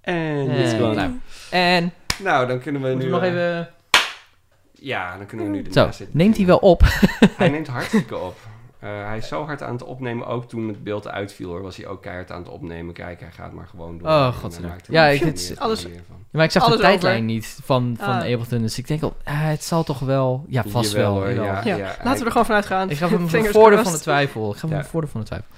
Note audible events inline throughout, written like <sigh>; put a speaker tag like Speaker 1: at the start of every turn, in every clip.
Speaker 1: En dit is
Speaker 2: Eh,
Speaker 1: gewoon.
Speaker 2: nou, En
Speaker 1: Nou, dan kunnen we nu...
Speaker 2: moeten we nog
Speaker 1: eh,
Speaker 2: even...
Speaker 1: Ja, dan kunnen we nu
Speaker 2: Zo,
Speaker 1: ernaast zitten.
Speaker 2: neemt hij wel op?
Speaker 1: <laughs>
Speaker 2: <laughs>
Speaker 1: Hij neemt hartstikke op. Eh, hij is zo hard aan het opnemen, ook toen het beeld uitviel hoor, was hij ook keihard aan het opnemen. Kijk, hij gaat maar gewoon door.
Speaker 2: Oh,
Speaker 1: En
Speaker 2: godzijdank.
Speaker 1: hij maakt er
Speaker 2: Ja,
Speaker 1: een
Speaker 2: ik-
Speaker 1: manier-
Speaker 2: dit is-
Speaker 3: alles-
Speaker 1: manier van.
Speaker 2: Maar ik zag
Speaker 3: Alles
Speaker 2: de tijdlijn
Speaker 3: over.
Speaker 2: niet van, van
Speaker 3: Ah.
Speaker 2: Ableton, dus ik denk al, ah, het zal toch wel... Ja, vast
Speaker 1: Jawel,
Speaker 2: wel.
Speaker 1: hoor,
Speaker 2: jawel.
Speaker 1: ja.
Speaker 3: Ja, laten we er gewoon vanuit gaan.
Speaker 2: Ik
Speaker 3: <laughs>
Speaker 2: ga hem voor
Speaker 3: Fingers
Speaker 2: voordeel van
Speaker 3: crossed.
Speaker 2: de twijfel. Ik ga hem
Speaker 1: Ja.
Speaker 2: voor voordeel van de twijfel.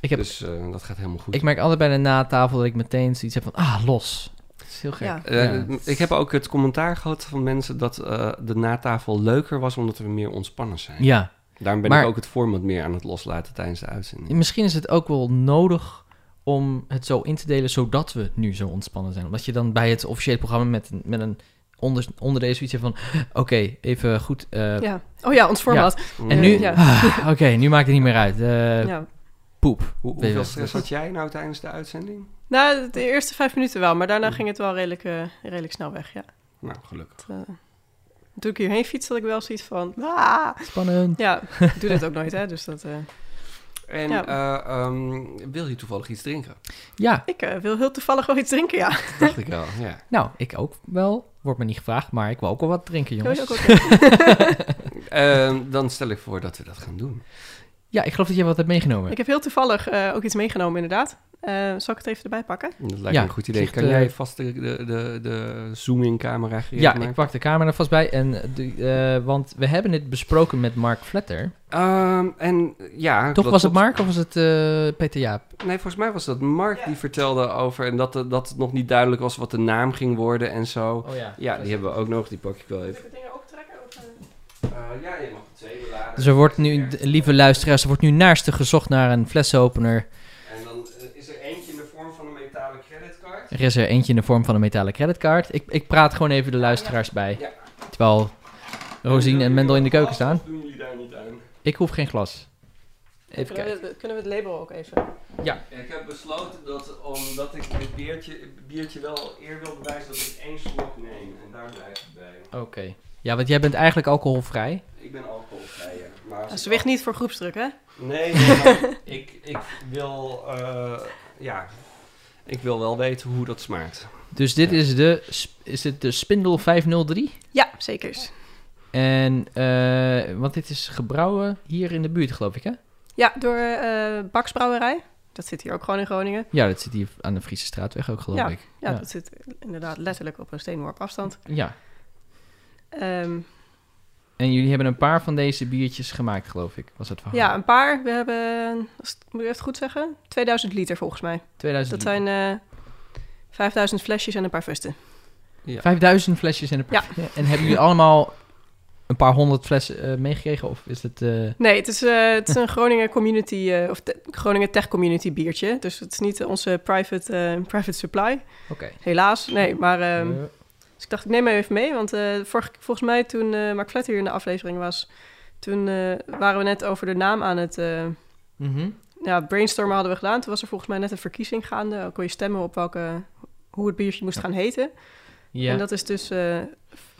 Speaker 2: Ik, heb,
Speaker 1: Dus eh, dat gaat helemaal goed.
Speaker 2: ik merk altijd bij de natafel dat ik meteen zoiets heb van, ah, los. Dat is heel gek.
Speaker 3: Ja.
Speaker 1: Eh,
Speaker 2: Ja.
Speaker 1: Ik heb ook het commentaar gehad van mensen dat eh, de natafel leuker was omdat we meer ontspannen zijn.
Speaker 2: ja.
Speaker 1: Daarom ben
Speaker 2: Maar-
Speaker 1: ik ook het format meer aan het loslaten tijdens de uitzending.
Speaker 2: Misschien is het ook wel nodig om het zo in te delen zodat we nu zo ontspannen zijn. Omdat je dan bij het officiële programma met, een- met een onder, onderdeel zoiets hebt van... Oké, even goed. eh,
Speaker 3: Ja. Oh ja, ons format.
Speaker 2: En nu?
Speaker 3: Ja.
Speaker 2: ah, Oké, nu maakt het niet meer uit. Eh,
Speaker 3: Ja.
Speaker 2: Poep.
Speaker 1: Hoe-
Speaker 2: Ja.
Speaker 1: hoeveel stress had jij nou tijdens de uitzending?
Speaker 3: Nou, de eerste vijf minuten wel, maar daarna ging het wel redelijk, eh, redelijk snel weg. Ja.
Speaker 1: Nou, gelukkig.
Speaker 3: Het, eh, toen ik hierheen fietste, had ik wel zoiets van... Ah.
Speaker 2: Spannend.
Speaker 3: Ja, ik doe dat ook nooit, hè. Dus dat, eh,
Speaker 1: En
Speaker 3: Ja.
Speaker 1: eh, ehm, wil je toevallig iets drinken?
Speaker 2: Ja,
Speaker 3: ik eh, wil heel toevallig wel iets drinken, ja.
Speaker 1: Dat dacht ik wel,
Speaker 2: <laughs>
Speaker 1: ja.
Speaker 2: nou, ik ook wel. Wordt me niet gevraagd, maar ik wil ook wel wat drinken,
Speaker 3: Wil
Speaker 2: jongens.
Speaker 3: je ook wat drinken?
Speaker 1: Ehm, dan stel ik voor dat we dat gaan doen.
Speaker 2: Ja, ik geloof dat jij wat hebt meegenomen.
Speaker 3: ik heb heel toevallig eh, ook iets meegenomen, inderdaad. Eh, zal ik het even erbij pakken?
Speaker 1: Dat lijkt
Speaker 2: Ja,
Speaker 1: me een goed idee.
Speaker 2: ziet,
Speaker 1: Kan
Speaker 2: eh,
Speaker 1: jij vast de, de, de, de zoom-in camera gereed
Speaker 2: Ja,
Speaker 1: maken?
Speaker 2: ik pak de camera vast bij. En de, eh, want we hebben dit besproken met Mark Vletter.
Speaker 1: Ehm, en ja...
Speaker 2: Toch
Speaker 1: dat
Speaker 2: was het
Speaker 1: klopt.
Speaker 2: Mark of was het eh, Peter Jaap?
Speaker 1: Nee, volgens mij was dat Mark die vertelde over... en dat, de- dat het nog niet duidelijk was wat de naam ging worden en zo.
Speaker 2: Oh
Speaker 1: Ja, die hebben we ook nog. Die pak ik wel even.
Speaker 3: het ding optrekken? eh,
Speaker 1: Eh, ja, je mag het twee beladen.
Speaker 2: Dus er wordt nu, de- lieve luisteraars, er wordt nu naarstig gezocht naar een flessenopener.
Speaker 1: En dan eh, is er eentje in de vorm van een metalen creditcard.
Speaker 2: Er is er eentje in de vorm van een metalen creditcard. Ik, ik praat gewoon even de luisteraars bij.
Speaker 1: Ja.
Speaker 2: Terwijl Rosine en eh, Mendel in de keuken staan.
Speaker 1: doen jullie daar niet aan?
Speaker 2: Ik hoef geen glas. Even kijken.
Speaker 3: Kunnen we, kunnen we het label ook even?
Speaker 1: Ik heb besloten dat omdat ik dit biertje, biertje wel eer wil bewijzen... dat ik één slok neem. En daar blijft het bij.
Speaker 2: Oké. Ja, want jij bent eigenlijk alcoholvrij.
Speaker 1: Ik ben alcoholvrij, ja. Maar als
Speaker 3: Nou,
Speaker 1: ik
Speaker 3: Zwicht niet voor groepsdruk, hè?
Speaker 1: Nee, nee, maar
Speaker 3: <laughs>
Speaker 1: ik, ik wil... eh, ja, ik wil wel weten hoe dat smaakt.
Speaker 2: Dus dit
Speaker 1: Ja.
Speaker 2: is de, sp- is dit de Spindel 503.
Speaker 3: Ja, zeker.
Speaker 2: En, eh, want dit is gebrouwen hier in de buurt, geloof ik, hè?
Speaker 3: Ja, door eh Baksbrouwerij. Dat zit hier ook gewoon in Groningen.
Speaker 2: Ja, dat zit hier aan de Friese Straatweg ook, geloof ik.
Speaker 3: Ja,
Speaker 2: ja.
Speaker 3: dat zit inderdaad letterlijk op een steenworp afstand.
Speaker 2: Ja.
Speaker 3: Ehm,
Speaker 2: En jullie hebben een paar van deze biertjes gemaakt, geloof ik, was het verhaal.
Speaker 3: ja, een paar. We hebben, als het- moet ik even goed zeggen, 2000 liter volgens mij.
Speaker 2: 2000
Speaker 3: Dat
Speaker 2: liter.
Speaker 3: zijn eh 5000 flesjes en een paar fusten.
Speaker 1: Ja.
Speaker 2: 5000 flesjes in een paar. En hebben jullie allemaal een paar honderd flessen eh, meegekregen? Of is het... eh,
Speaker 3: Nee, het is, eh, het is <laughs> een Groningen community, eh, of te- Groningen tech community biertje. Dus het is niet eh, onze private, eh, private supply.
Speaker 2: Oké.
Speaker 3: Helaas, nee. Maar ehm,
Speaker 2: Eh,
Speaker 3: Dus ik dacht, ik neem hem even mee. Want eh, vorig- volgens mij toen eh Mark Vletter hier in de aflevering was... toen eh, waren we net over de naam aan het... eh,
Speaker 2: mhm.
Speaker 3: ja, brainstormen hadden we gedaan. Toen was er volgens mij net een verkiezing gaande. Dan kon je stemmen op welke, hoe het biertje moest gaan heten.
Speaker 2: Ja,
Speaker 3: En dat is dus eh,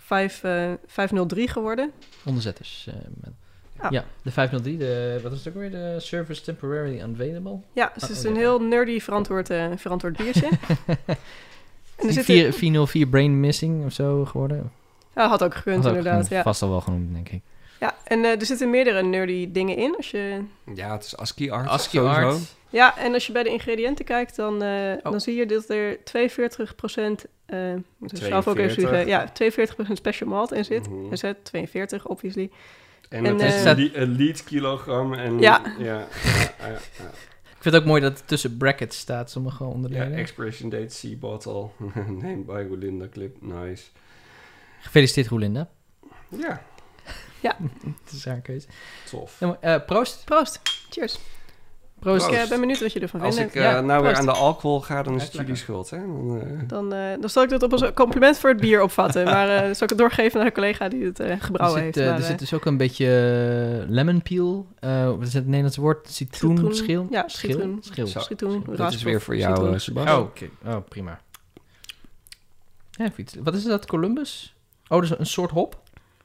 Speaker 3: vijf, eh, 503 geworden.
Speaker 2: onderzetters. eh, met-
Speaker 3: Ah.
Speaker 2: Ja, de 503, de, wat is het ook weer? De service temporarily unavailable.
Speaker 3: Ja, dus
Speaker 2: Ah,
Speaker 3: het is
Speaker 2: oh,
Speaker 3: een
Speaker 2: ja.
Speaker 3: heel nerdy verantwoord, eh, verantwoord
Speaker 2: <laughs>
Speaker 3: biertje. en er zit
Speaker 2: Vier- 404 brain missing of zo geworden.
Speaker 3: ja, had ook gekund,
Speaker 2: Had ook
Speaker 3: inderdaad.
Speaker 2: gewoon
Speaker 3: Ja.
Speaker 2: vast al wel genoemd, denk ik.
Speaker 3: ja, en eh, er zitten meerdere nerdy dingen in. Als je
Speaker 1: Ja, het is ASCII art.
Speaker 2: ASCII
Speaker 1: sowieso.
Speaker 2: art.
Speaker 3: Ja, en als je bij de ingrediënten kijkt, dan, eh,
Speaker 2: Oh.
Speaker 3: dan zie je dat er 42 procent... eh, zelf ook even
Speaker 1: 42.
Speaker 3: zeggen, ja, 42% special malt in
Speaker 2: Mm.
Speaker 3: zit.
Speaker 1: Mhm.
Speaker 3: Dus hè, 42, obviously.
Speaker 1: En,
Speaker 3: En,
Speaker 1: het is
Speaker 3: eh,
Speaker 1: een li- een lead kilogram. En,
Speaker 3: Ja. <laughs>
Speaker 1: Ja, ja, ja, ja.
Speaker 2: Ik vind het ook mooi dat het tussen brackets staat, sommige
Speaker 1: Ja,
Speaker 2: onderdelen.
Speaker 1: expiration date, sea <laughs> bottle. Named by Belinda Clip, nice.
Speaker 2: Gefeliciteerd, Roelinda.
Speaker 1: Ja,
Speaker 2: Het is haar keuze.
Speaker 1: tof.
Speaker 2: Ja, maar, eh, proost.
Speaker 3: Proost. Cheers.
Speaker 2: Proost.
Speaker 3: Ik eh,
Speaker 1: Proost.
Speaker 3: ben benieuwd wat je ervan
Speaker 1: Als
Speaker 3: vindt.
Speaker 1: ik eh,
Speaker 2: ja,
Speaker 1: nou weer
Speaker 2: proost.
Speaker 1: aan de alcohol ga, dan is het
Speaker 2: Echt
Speaker 1: jullie schuld, hè? Dan, eh,
Speaker 3: Dan, eh, dan zal ik dat op als compliment voor het
Speaker 1: <laughs>
Speaker 3: bier opvatten. maar eh, zal ik het doorgeven naar een collega die het eh,
Speaker 2: Er
Speaker 3: gebrouwen
Speaker 2: zit,
Speaker 3: heeft.
Speaker 2: eh,
Speaker 3: maar,
Speaker 2: er
Speaker 3: eh,
Speaker 2: zit dus ook een beetje eh, lemon peel. eh, wat is het Nederlandse woord? Citroenschil?
Speaker 3: Ja,
Speaker 2: Schil?
Speaker 3: citroen.
Speaker 2: Schil.
Speaker 1: Zo.
Speaker 3: citroen,
Speaker 2: Dit
Speaker 1: dit
Speaker 3: rasp
Speaker 1: is weer
Speaker 3: of
Speaker 1: voor jou,
Speaker 3: citroen.
Speaker 1: eh,
Speaker 2: Oh,
Speaker 1: Sebastian.
Speaker 2: oké. oh, prima. Ja, fiets. Wat is dat, Columbus? Oh, dat is een soort dus hop?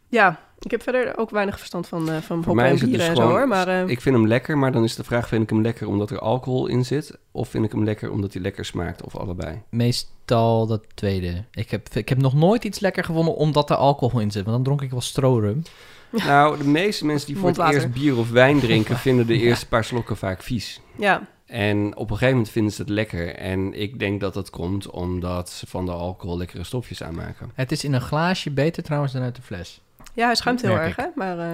Speaker 3: Ja, Ik heb verder ook weinig verstand van, eh van
Speaker 1: Voor
Speaker 3: hoppen
Speaker 1: mij
Speaker 3: en
Speaker 1: is het
Speaker 3: bieren
Speaker 1: dus
Speaker 3: en
Speaker 1: gewoon,
Speaker 3: zo hoor. Maar eh,
Speaker 1: ik vind hem lekker, maar dan is de vraag, vind ik hem lekker omdat er alcohol in zit? Of vind ik hem lekker omdat hij lekker smaakt, of allebei?
Speaker 2: Meestal dat tweede. Ik heb, ik heb nog nooit iets lekker gevonden omdat er alcohol in zit. Want dan dronk ik wel strorum.
Speaker 1: Nou, de meeste mensen
Speaker 3: <laughs>
Speaker 1: die voor het
Speaker 3: Mondwater.
Speaker 1: eerst bier of wijn
Speaker 3: <laughs>
Speaker 1: drinken, vinden de eerste paar slokken vaak vies.
Speaker 3: ja,
Speaker 1: En op een gegeven moment vinden ze het lekker. En ik denk dat dat komt omdat ze van de alcohol lekkere stofjes aanmaken.
Speaker 2: Het is in een glaasje beter trouwens dan uit de fles.
Speaker 3: ja, hij schuimt heel
Speaker 2: Merk
Speaker 3: erg
Speaker 2: ik.
Speaker 3: hè. Maar
Speaker 1: <laughs>
Speaker 3: eh,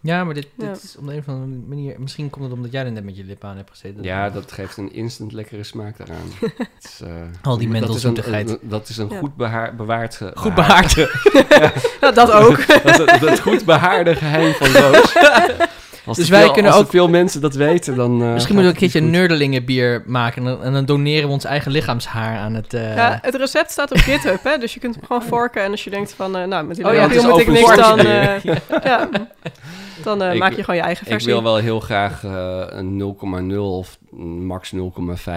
Speaker 2: Ja, maar dit, dit
Speaker 3: Ja.
Speaker 2: is op de een of andere manier... Misschien komt het omdat jij er net met je lippen aan hebt gezeten.
Speaker 1: Ja, dat geeft een instant lekkere smaak
Speaker 2: <laughs>
Speaker 1: daaraan. Het is, eh,
Speaker 2: Al die
Speaker 1: dat is een-
Speaker 2: mendelzoetigheid.
Speaker 1: Dat is een
Speaker 3: Ja.
Speaker 1: goed behaar, bewaard... ge-
Speaker 2: Goed
Speaker 1: <laughs>
Speaker 2: behaard.
Speaker 3: nou, dat ook.
Speaker 1: dat, dat, dat goed behaarde geheim van
Speaker 2: <laughs>
Speaker 1: Roos. Als
Speaker 2: Dus
Speaker 1: er
Speaker 2: wij
Speaker 1: veel,
Speaker 2: kunnen
Speaker 1: als er
Speaker 2: ook-
Speaker 1: veel mensen dat weten, dan... eh,
Speaker 2: Misschien
Speaker 1: gaat
Speaker 2: moeten we
Speaker 1: het
Speaker 2: een keertje
Speaker 1: niet
Speaker 2: een
Speaker 1: goed.
Speaker 2: nerdelingenbier maken. En dan, en dan doneren we ons eigen lichaamshaar aan het... eh,
Speaker 3: <laughs> Ja, het recept staat op GitHub, hè, dus je kunt hem gewoon forken. En als je denkt van, eh, nou, met die
Speaker 1: Oh ja,
Speaker 3: leuke
Speaker 1: het is
Speaker 3: moet ik
Speaker 1: open
Speaker 3: niks,
Speaker 1: source
Speaker 3: dan,
Speaker 1: hier. <laughs>
Speaker 3: eh, ja, dan eh,
Speaker 1: Ik-
Speaker 3: maak je gewoon je eigen
Speaker 1: Ik
Speaker 3: versie.
Speaker 1: wil wel heel graag eh, een 0,0 of max 0,5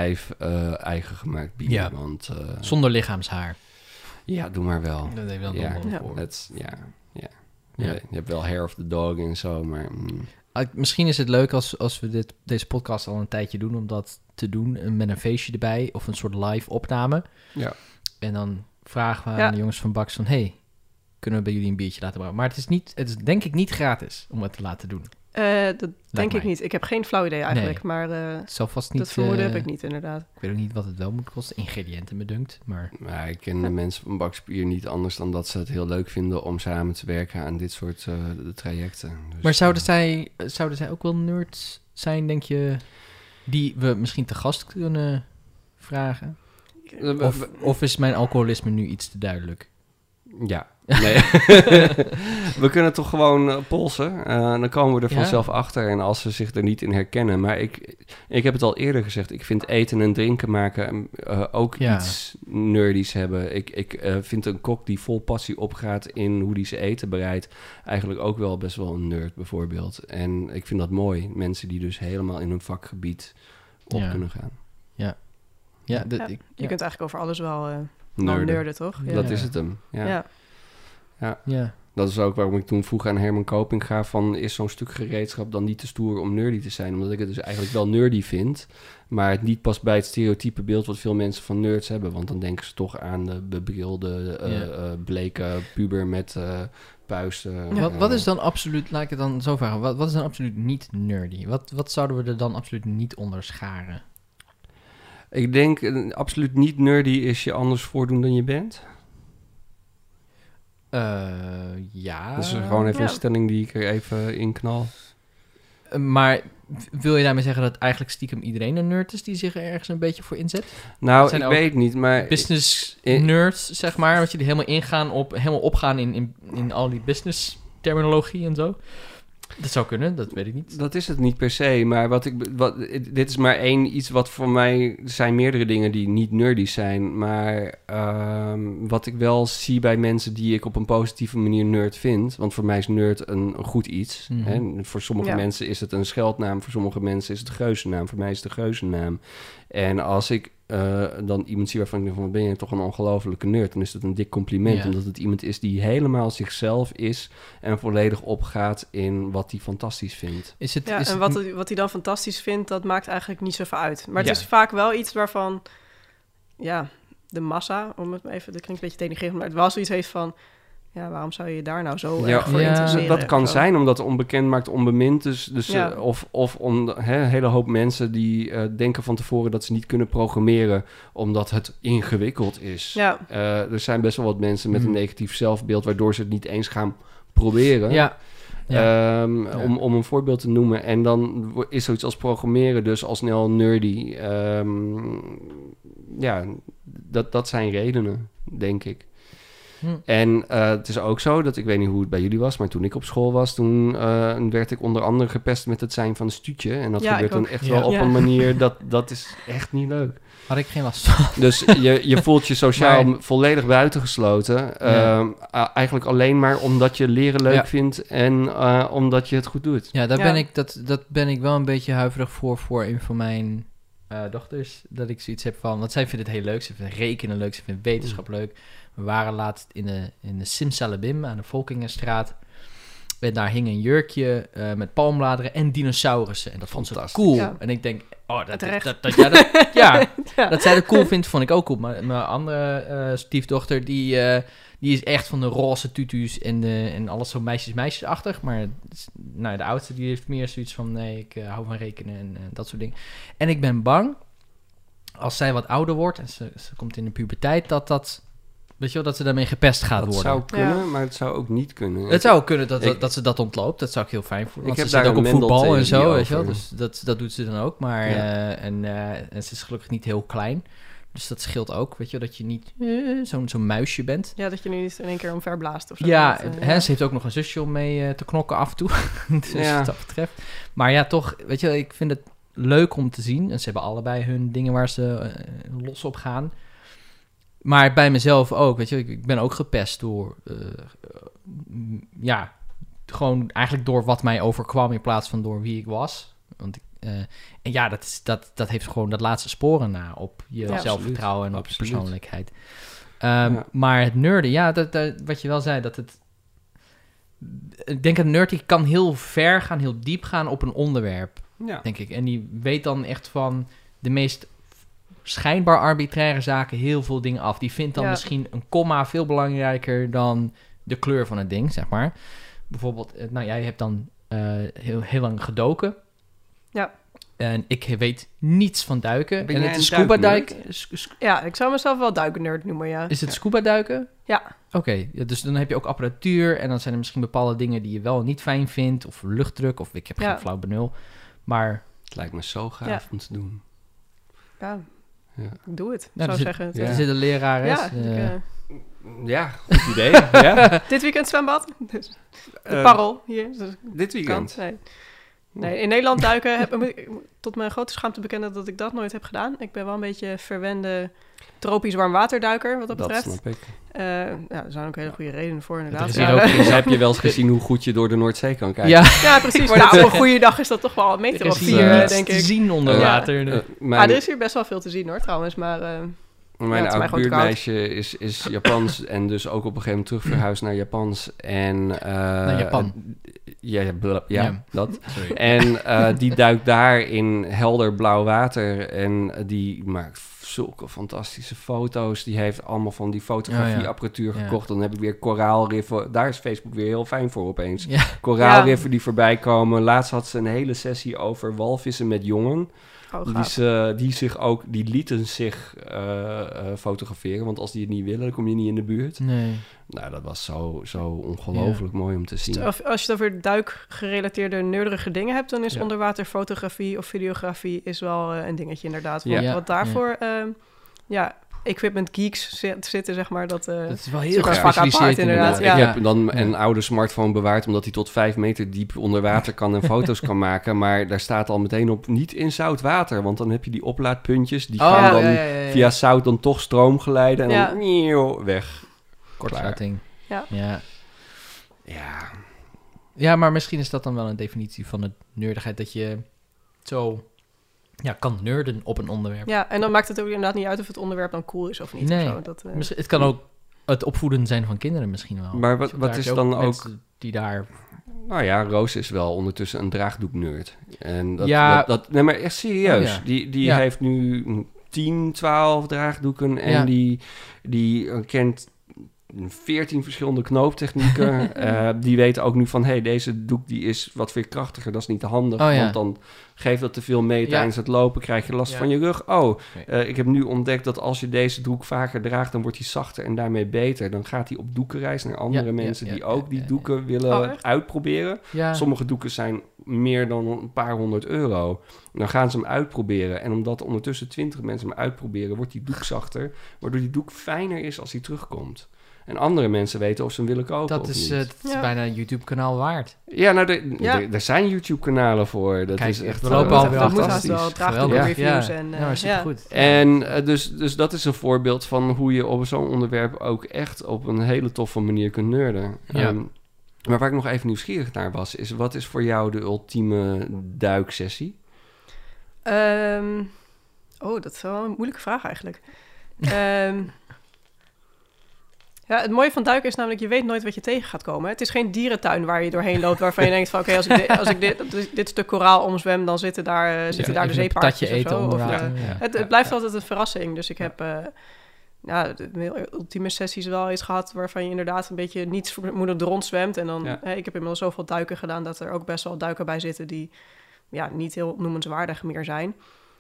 Speaker 1: eh, eigen gemaakt bier.
Speaker 2: Ja.
Speaker 1: Want eh,
Speaker 2: Zonder lichaamshaar.
Speaker 1: ja, doe maar wel.
Speaker 2: Dat hebben we dan
Speaker 1: Oh. Ja.
Speaker 2: nog wel
Speaker 3: Ja.
Speaker 2: voor.
Speaker 1: Het, is- ja, ja.
Speaker 2: Ja.
Speaker 1: Je, je hebt wel Hair of the Dog en zo, maar... mm.
Speaker 2: Ah, Misschien is het leuk als, als we dit, deze podcast al een tijdje doen... om dat te doen eh, met een feestje erbij of een soort live opname.
Speaker 1: Ja.
Speaker 2: En dan vragen we
Speaker 3: Ja.
Speaker 2: aan de jongens van Baks van... hey, kunnen we bij jullie een biertje laten brouwen? Maar het is, niet, het is denk ik niet gratis om het te laten doen.
Speaker 3: Eh, dat denk
Speaker 2: mij.
Speaker 3: ik niet. Ik heb geen flauw idee eigenlijk,
Speaker 2: Nee.
Speaker 3: maar eh,
Speaker 2: Het zal vast niet...
Speaker 3: dat vermoeden
Speaker 2: eh,
Speaker 3: heb ik niet inderdaad.
Speaker 2: Ik weet ook niet wat het wel moet kosten. Ingrediënten, me dunkt. Maar
Speaker 1: Maar ik ken de mensen van Bakspier niet anders dan dat ze het heel leuk vinden om samen te werken aan dit soort eh, trajecten. Dus,
Speaker 2: Maar zouden
Speaker 1: eh,
Speaker 2: zij, zouden zij ook wel nerds zijn, denk je, die we misschien te gast kunnen vragen? Of, of is mijn alcoholisme nu iets te duidelijk? <laughs>
Speaker 1: Ja. Nee. <laughs> we kunnen toch gewoon eh, polsen. Eh, dan komen we er
Speaker 2: Ja.
Speaker 1: vanzelf achter. En als ze zich er niet in herkennen. Maar ik, ik heb het al eerder gezegd. Ik vind eten en drinken maken eh, ook
Speaker 2: Ja.
Speaker 1: iets nerdies hebben. Ik, ik eh, vind een kok die vol passie opgaat in hoe die ze eten bereidt. Eigenlijk ook wel best wel een nerd bijvoorbeeld. En ik vind dat mooi. Mensen die dus helemaal in hun vakgebied op
Speaker 2: Ja.
Speaker 1: kunnen gaan.
Speaker 2: Ja, dat,
Speaker 3: Ja,
Speaker 2: ik,
Speaker 3: Je
Speaker 2: ja,
Speaker 3: kunt eigenlijk over alles wel eh wel
Speaker 1: Nerden.
Speaker 3: nerden, toch?
Speaker 2: Ja.
Speaker 1: Dat is het hem. Ja.
Speaker 3: Ja.
Speaker 2: ja.
Speaker 1: Dat is ook waarom ik toen vroeg aan Herman Koping ga van... is zo'n stuk gereedschap dan niet te stoer om nerdy te zijn? Omdat ik het dus eigenlijk wel nerdy vind... maar het niet past bij het stereotype beeld wat veel mensen van nerds hebben. Want dan denken ze toch aan de bebrilde, eh,
Speaker 2: Ja.
Speaker 1: eh, bleke puber met eh, puisten.
Speaker 2: Wat,
Speaker 1: Eh,
Speaker 2: wat is dan absoluut, laat ik het dan zo vragen, wat, wat is dan absoluut niet nerdy? Wat, wat zouden we er dan absoluut niet onder scharen?
Speaker 1: Ik denk eh, absoluut niet nerdy is je anders voordoen dan je bent.
Speaker 2: Eh, ja.
Speaker 1: Dat is gewoon even
Speaker 3: ja.
Speaker 1: een stelling die ik er even in knal.
Speaker 2: Maar wil je daarmee zeggen dat eigenlijk stiekem iedereen een nerd is die zich er ergens een beetje voor inzet?
Speaker 1: Nou,
Speaker 2: Zijn
Speaker 1: ik
Speaker 2: ook
Speaker 1: weet niet, maar...
Speaker 2: business
Speaker 1: eh,
Speaker 2: nerds, zeg maar. Want jullie helemaal ingaan op, helemaal opgaan in, in, in al die business terminologie en zo. Dat zou kunnen, dat weet ik niet.
Speaker 1: Dat is het niet per se, maar wat ik, be- wat, dit is maar één iets wat voor mij... Er zijn meerdere dingen die niet nerdy zijn, maar ehm, wat ik wel zie bij mensen die ik op een positieve manier nerd vind... Want voor mij is nerd een, een goed iets.
Speaker 2: Mhm.
Speaker 1: Hè? Voor sommige
Speaker 3: Ja.
Speaker 1: mensen is het een scheldnaam, voor sommige mensen is het een geuzennaam. Voor mij is het een geuzennaam. En als ik eh, dan iemand zie waarvan ik denk van, wat ben je toch een ongelofelijke nerd... dan is dat een dik compliment,
Speaker 2: Ja.
Speaker 1: omdat het iemand is die helemaal zichzelf is... en volledig opgaat in wat hij fantastisch vindt.
Speaker 2: Is het,
Speaker 3: Ja,
Speaker 2: is
Speaker 3: en
Speaker 2: het
Speaker 3: wat,
Speaker 2: niet-
Speaker 3: het- wat hij dan fantastisch vindt, dat maakt eigenlijk niet zoveel uit. Maar het
Speaker 1: Ja.
Speaker 3: is vaak wel iets waarvan, ja, de massa, om het maar even, dat klinkt een beetje denigrerend, maar het wel zoiets heeft van, ja, waarom zou je je daar nou zo
Speaker 1: Ja,
Speaker 3: erg voor
Speaker 2: ja,
Speaker 3: interesseren?
Speaker 1: Dat kan
Speaker 3: Of zo.
Speaker 1: zijn omdat onbekend maakt onbemind. Dus, dus,
Speaker 3: Ja.
Speaker 1: eh, of, of om, hè, een hele hoop mensen die eh, denken van tevoren dat ze niet kunnen programmeren omdat het ingewikkeld is.
Speaker 3: Ja,
Speaker 1: Eh, er zijn best wel wat mensen met
Speaker 2: Hmm.
Speaker 1: een negatief zelfbeeld waardoor ze het niet eens gaan proberen.
Speaker 2: Ja, ja.
Speaker 1: Ehm,
Speaker 2: Ja.
Speaker 1: Om, om een voorbeeld te noemen. En dan wo- is zoiets als programmeren dus al snel nerdy. Ehm, ja, dat, dat zijn redenen, denk ik.
Speaker 2: Hm.
Speaker 1: En eh, het is ook zo dat ik weet niet hoe het bij jullie was, maar toen ik op school was, toen eh, werd ik onder andere gepest met het zijn van een stuutje. En dat
Speaker 3: Ja,
Speaker 1: gebeurt
Speaker 3: ik ook.
Speaker 1: dan echt
Speaker 2: Ja.
Speaker 1: wel op
Speaker 3: Ja.
Speaker 1: een manier dat dat is echt niet leuk.
Speaker 2: had ik geen last van.
Speaker 1: Dus je,
Speaker 3: <laughs>
Speaker 1: je voelt je sociaal
Speaker 2: Maar-
Speaker 1: volledig buitengesloten. Ehm
Speaker 2: Ja.
Speaker 1: a- eigenlijk alleen maar omdat je leren leuk
Speaker 2: Ja.
Speaker 1: vindt en eh, omdat je het goed doet.
Speaker 2: Ja, daar
Speaker 3: Ja.
Speaker 2: Ben ik, dat, dat ben ik wel een beetje huiverig voor, voor een van mijn eh, dochters. Dat ik zoiets heb van, want zij vindt het heel leuk. Ze vindt rekenen leuk, ze vindt wetenschap leuk. We waren laatst in de, in de Simsalabim aan de Volkingenstraat. we- daar hing een jurkje eh, met palmbladeren en dinosaurussen. En dat vond ze
Speaker 1: Fantastisch.
Speaker 2: cool.
Speaker 3: Ja.
Speaker 2: En ik denk, oh, dat, dat,
Speaker 3: Terecht.
Speaker 2: dat, jij
Speaker 3: <laughs>
Speaker 2: dat- ja,
Speaker 3: Ja.
Speaker 2: dat zij dat cool vindt, vond ik ook cool. Maar mijn andere eh, stiefdochter, die, eh, die is echt van de roze tutu's en, de, en alles zo meisjes-meisjesachtig. Maar het is- nou, ja, de oudste die heeft meer zoiets van, nee, ik eh, hou van rekenen en eh, dat soort dingen. En ik ben bang, als zij wat ouder wordt en ze, ze komt in de puberteit, dat dat, weet je wel, dat ze daarmee gepest gaat
Speaker 1: dat
Speaker 2: worden.
Speaker 1: zou kunnen,
Speaker 3: Ja.
Speaker 1: maar het zou ook niet kunnen.
Speaker 2: Het zou ook kunnen dat, dat,
Speaker 1: Ik-
Speaker 2: dat ze dat ontloopt. Dat zou ik heel fijn voelen.
Speaker 1: Ik
Speaker 2: Want
Speaker 1: heb
Speaker 2: ze zit
Speaker 1: daar
Speaker 2: ook op
Speaker 1: een
Speaker 2: voetbal en zo,
Speaker 1: Mendel-theorie
Speaker 2: weet je wel.
Speaker 1: over.
Speaker 2: Dus dat, dat doet ze dan ook. Maar,
Speaker 1: Ja.
Speaker 2: eh, en, eh, en ze is gelukkig niet heel klein. Dus dat scheelt ook, weet je wel, dat je niet eh, zo'n zo'n muisje bent.
Speaker 3: Ja, dat je nu niet in één keer omverblaast of zo.
Speaker 2: Ja,
Speaker 3: Dat, eh,
Speaker 2: hè, ze heeft ook nog een zusje om mee eh, te knokken af en toe. <laughs> dus
Speaker 1: Ja.
Speaker 2: wat dat betreft. Maar ja, toch, weet je wel, ik vind het leuk om te zien. En ze hebben allebei hun dingen waar ze eh, los op gaan. Maar bij mezelf ook, weet je, wel, ik, ik ben ook gepest door, eh, eh, m, ja, gewoon eigenlijk door wat mij overkwam in plaats van door wie ik was. Want ik, eh, en ja, dat, is, dat, dat heeft gewoon dat laatste sporen na op je
Speaker 3: Ja.
Speaker 2: zelfvertrouwen en op je
Speaker 1: Absoluut.
Speaker 2: persoonlijkheid. Ehm,
Speaker 1: Ja.
Speaker 2: Maar het nerden, ja, dat, dat- wat je wel zei, dat het... Ik denk dat nerd die kan heel ver gaan, heel diep gaan op een onderwerp,
Speaker 1: Ja.
Speaker 2: denk ik. En die weet dan echt van de meest schijnbaar arbitraire zaken heel veel dingen af. Die vindt dan
Speaker 3: Ja.
Speaker 2: misschien een komma veel belangrijker dan de kleur van het ding, zeg maar. Bijvoorbeeld, eh, nou jij hebt dan eh, heel, heel lang gedoken.
Speaker 3: Ja.
Speaker 2: En ik weet niets van duiken.
Speaker 1: Ben
Speaker 2: en
Speaker 1: jij
Speaker 2: het
Speaker 1: een
Speaker 2: is scuba
Speaker 1: duiknerd?
Speaker 2: duiken.
Speaker 3: ja, ik zou mezelf wel duiknerd noemen, ja.
Speaker 2: Is het scuba duiken?
Speaker 3: Ja.
Speaker 2: Oké, ja, dus dan heb je ook apparatuur en dan zijn er misschien bepaalde dingen die je wel niet fijn vindt. Of luchtdruk, of ik heb
Speaker 3: Ja.
Speaker 2: geen flauw benul. Maar
Speaker 1: Het lijkt me zo gaaf
Speaker 3: Ja.
Speaker 1: om te doen.
Speaker 3: Ja.
Speaker 1: Ja.
Speaker 3: Ik doe het,
Speaker 2: Nou,
Speaker 3: zou
Speaker 2: dus
Speaker 3: ik zeggen.
Speaker 1: Ja.
Speaker 2: er
Speaker 3: Dus-
Speaker 2: zit een lerares.
Speaker 3: Ja,
Speaker 2: eh,
Speaker 3: ik, eh,
Speaker 1: Ja, goed
Speaker 3: <laughs>
Speaker 1: idee. ja.
Speaker 3: dit weekend zwembad. <laughs> Dus, de
Speaker 1: Eh,
Speaker 3: parrel hier. Dus dat
Speaker 1: dit
Speaker 3: kan.
Speaker 1: weekend.
Speaker 3: Nee. nee, in Nederland duiken heb moet ik tot mijn grote schaamte bekennen dat ik dat nooit heb gedaan. Ik ben wel een beetje verwende tropisch warmwaterduiker, wat dat,
Speaker 1: Dat
Speaker 3: betreft.
Speaker 1: snap ik.
Speaker 3: Eh, ja, er zijn ook hele goede redenen voor,
Speaker 2: Er
Speaker 3: inderdaad.
Speaker 2: is
Speaker 1: Ja,
Speaker 2: hier
Speaker 3: Maar,
Speaker 2: ook-
Speaker 3: eh,
Speaker 1: dus heb je wel eens gezien hoe goed je door de Noordzee kan kijken?
Speaker 2: ja,
Speaker 3: <laughs> ja, precies.
Speaker 1: wou net
Speaker 3: Nou, op een goede dag is dat toch wel een meter
Speaker 2: er
Speaker 3: of
Speaker 2: is
Speaker 3: vier,
Speaker 2: hier
Speaker 1: eh,
Speaker 3: eh,
Speaker 2: niets
Speaker 3: denk
Speaker 2: te
Speaker 3: ik.
Speaker 2: zien onder
Speaker 1: Eh,
Speaker 2: water.
Speaker 1: Eh, mijn-
Speaker 3: Maar er Ah, is hier best wel veel te zien hoor, trouwens. Maar eh,
Speaker 1: Mijn
Speaker 3: Ja, het is mij
Speaker 1: oud
Speaker 3: gewoon te
Speaker 1: buurmeisje is, is Japans
Speaker 3: <laughs>
Speaker 1: en dus ook op een gegeven moment terug verhuisd naar Japans. En, eh
Speaker 2: Naar Japan.
Speaker 1: Ja, ja, bla- ja,
Speaker 2: Ja.
Speaker 1: dat.
Speaker 2: Sorry.
Speaker 1: En eh,
Speaker 2: <laughs>
Speaker 1: die duikt daar in helder blauw water en die maakt zulke fantastische foto's. Die heeft allemaal van die fotografieapparatuur
Speaker 2: Ja, ja.
Speaker 1: gekocht. Dan heb ik weer koraalriffen. Daar is Facebook weer heel fijn voor opeens.
Speaker 2: Ja.
Speaker 1: Koraalriffen die voorbij komen. Laatst had ze een hele sessie over walvissen met jongen.
Speaker 3: oh,
Speaker 1: Die,
Speaker 3: gaaf.
Speaker 1: ze, die, zich ook, die lieten zich eh, eh, fotograferen, want als die het niet willen, dan kom je niet in de buurt.
Speaker 2: Nee.
Speaker 1: Nou, dat was zo, zo ongelooflijk mooi om te zien.
Speaker 3: Of als je het over duikgerelateerde nerdige dingen hebt, dan is
Speaker 1: Ja.
Speaker 3: onderwaterfotografie of videografie is wel eh, een dingetje inderdaad. Want,
Speaker 2: Ja.
Speaker 3: want daarvoor, ja. ja, equipment geeks zi- zitten, zeg maar, dat... eh,
Speaker 2: Dat is wel
Speaker 3: is
Speaker 2: heel
Speaker 3: ook een vak
Speaker 2: gespecialiseerd
Speaker 3: apart,
Speaker 2: inderdaad.
Speaker 3: inderdaad,
Speaker 1: eh, Ik
Speaker 2: Ja.
Speaker 1: heb dan
Speaker 2: Ja.
Speaker 1: een oude smartphone bewaard, omdat hij tot vijf meter diep onder water kan
Speaker 2: <laughs>
Speaker 1: en foto's kan maken. Maar daar staat al meteen op, niet in zout water, want dan heb je die oplaadpuntjes, die
Speaker 2: Oh,
Speaker 1: gaan
Speaker 2: ja,
Speaker 1: dan
Speaker 2: ja, ja, ja, ja.
Speaker 1: via zout dan toch stroom geleiden en
Speaker 3: Ja.
Speaker 1: dan nieuw, weg.
Speaker 2: kortsluiting.
Speaker 3: Ja.
Speaker 2: Ja.
Speaker 1: Ja,
Speaker 2: Ja, maar misschien is dat dan wel een definitie van de nerdigheid. Dat je zo ja, kan nerden op een onderwerp.
Speaker 3: ja, en dan maakt het ook inderdaad niet uit of het onderwerp dan cool is of niet.
Speaker 2: Nee.
Speaker 3: Of zo. Dat, eh,
Speaker 2: Misschien- het kan ook het opvoeden zijn van kinderen misschien wel.
Speaker 1: Maar wat-
Speaker 2: Daar
Speaker 1: wat
Speaker 2: heb je
Speaker 1: is dan ook-
Speaker 2: mensen Die daar...
Speaker 1: Nou ja, Roos is wel ondertussen een draagdoeknerd. En dat,
Speaker 2: Ja.
Speaker 1: dat, dat- nee, maar echt serieus.
Speaker 2: Oh ja.
Speaker 1: Die, die
Speaker 2: Ja.
Speaker 1: heeft nu 10, 12 draagdoeken en
Speaker 2: Ja.
Speaker 1: die, die eh, kent 14 verschillende knooptechnieken.
Speaker 2: <laughs>
Speaker 1: Eh, die weten ook nu van, hé, hey, deze doek die is wat veerkrachtiger, dat is niet handig.
Speaker 2: Oh ja.
Speaker 1: Want dan geeft dat te veel mee
Speaker 2: Ja.
Speaker 1: tijdens het lopen, krijg je last
Speaker 2: Ja.
Speaker 1: van je rug. Oh,
Speaker 2: Nee.
Speaker 1: eh, ik heb nu ontdekt dat als je deze doek vaker draagt, dan wordt hij zachter en daarmee beter. Dan gaat hij op doekenreis naar andere
Speaker 2: ja,
Speaker 1: mensen
Speaker 2: ja,
Speaker 1: die
Speaker 2: ja,
Speaker 1: ook die
Speaker 2: ja, ja.
Speaker 1: doeken willen
Speaker 3: Oh, echt?
Speaker 1: uitproberen.
Speaker 2: Ja,
Speaker 1: Sommige doeken zijn meer dan een paar honderd euro. Dan gaan ze hem uitproberen. En omdat ondertussen twintig mensen hem uitproberen, wordt die doek zachter. Waardoor die doek fijner is als hij terugkomt. En andere mensen weten of ze hem willen kopen
Speaker 2: dat
Speaker 1: of
Speaker 2: is,
Speaker 1: niet.
Speaker 2: eh, dat is
Speaker 3: Ja.
Speaker 2: bijna een YouTube-kanaal waard.
Speaker 1: ja, nou, er-
Speaker 3: Ja.
Speaker 1: er- er zijn YouTube-kanalen voor. Dat
Speaker 2: Kijk,
Speaker 1: is echt
Speaker 2: we
Speaker 1: eh,
Speaker 2: lopen
Speaker 3: dat,
Speaker 2: al alweer
Speaker 3: dat moet haast
Speaker 1: fantastisch.
Speaker 3: wel, draagt ook
Speaker 2: Geweldig.
Speaker 3: reviews
Speaker 2: Ja,
Speaker 3: en... eh,
Speaker 2: ja maar
Speaker 3: ja.
Speaker 2: supergoed.
Speaker 1: En eh, dus, dus dat is een voorbeeld van hoe je op zo'n onderwerp ook echt op een hele toffe manier kunt nerden.
Speaker 2: Ja.
Speaker 1: Ehm, maar waar ik nog even nieuwsgierig naar was, is wat is voor jou de ultieme duiksessie?
Speaker 3: Ehm,
Speaker 2: <laughs>
Speaker 3: oh, dat is wel een moeilijke vraag eigenlijk. Ehm, Ja, het mooie van duiken is namelijk, je weet nooit wat je tegen gaat komen. Het is geen dierentuin waar je doorheen loopt, waarvan je denkt van, oké,
Speaker 2: <laughs>
Speaker 3: als ik, dit, als ik dit, dit stuk koraal omzwem, dan zitten daar, eh, zitten daar de
Speaker 2: even een
Speaker 3: zeepaardjes
Speaker 2: patatje
Speaker 3: of
Speaker 2: eten
Speaker 3: zo. Of,
Speaker 2: onderaan.
Speaker 3: eh,
Speaker 2: ja.
Speaker 3: het,
Speaker 1: Ja,
Speaker 3: het blijft altijd een verrassing. Dus ik heb eh nou, de- de ultieme sessies wel iets gehad waarvan je inderdaad een beetje niets vermoedend rondzwemt. En dan,
Speaker 1: Ja.
Speaker 3: hè, ik heb inmiddels zoveel duiken gedaan dat er ook best wel duiken bij zitten die ja, niet heel noemenswaardig meer zijn.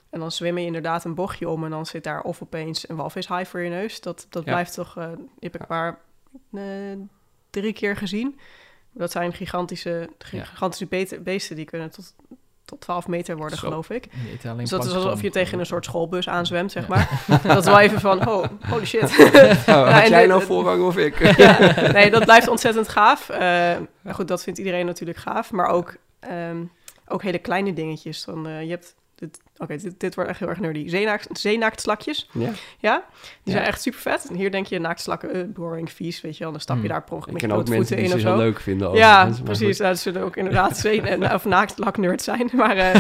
Speaker 3: En dan zwem je inderdaad een bochtje om en dan zit daar of opeens een walvishaai voor je neus. Dat, dat
Speaker 1: Ja.
Speaker 3: blijft toch, eh, die heb ik maar eh, drie keer gezien. Dat zijn gigantische,
Speaker 1: Ja.
Speaker 3: gigantische bete- beesten, die kunnen tot, tot 12 meter worden,
Speaker 1: Zo.
Speaker 3: geloof ik.
Speaker 2: Je eet alleen
Speaker 3: Dus dat is
Speaker 2: plankton.
Speaker 3: alsof je tegen een soort schoolbus aanzwemt, zeg
Speaker 2: Ja. <laughs>
Speaker 3: maar. dat is wel even van, oh, holy shit.
Speaker 1: Oh,
Speaker 3: <laughs> Ja,
Speaker 1: had
Speaker 3: en
Speaker 1: jij
Speaker 3: dit-
Speaker 1: <laughs> nou
Speaker 3: dit-
Speaker 1: voorrang of
Speaker 3: <laughs>
Speaker 1: ik?
Speaker 3: ja, nee, dat blijft ontzettend gaaf. Eh, maar goed, dat vindt iedereen natuurlijk gaaf. Maar ook, ehm, ook hele kleine dingetjes. Dan, eh, je hebt, dit, oké, dit, dit wordt echt heel erg nerdy. Zeenaakt, zeenaaktslakjes,
Speaker 1: Ja.
Speaker 3: ja?
Speaker 1: Ja.
Speaker 3: Die zijn echt super vet. Hier denk je, naaktslakken, eh, boring, vies, weet je wel. Dan stap je
Speaker 2: Hmm.
Speaker 3: daar per ongeluk
Speaker 1: Ik
Speaker 3: met
Speaker 1: ken
Speaker 3: je
Speaker 1: ook
Speaker 3: blote
Speaker 1: mensen
Speaker 3: voeten
Speaker 1: die ze
Speaker 3: in of
Speaker 1: heel
Speaker 3: zo.
Speaker 1: leuk vinden.
Speaker 3: Ja,
Speaker 1: overigens, maar
Speaker 3: precies.
Speaker 1: goed.
Speaker 3: Nou, dat zullen ook
Speaker 1: <laughs>
Speaker 3: inderdaad zeen- en, of naaktslaknerds zijn. <laughs> Maar eh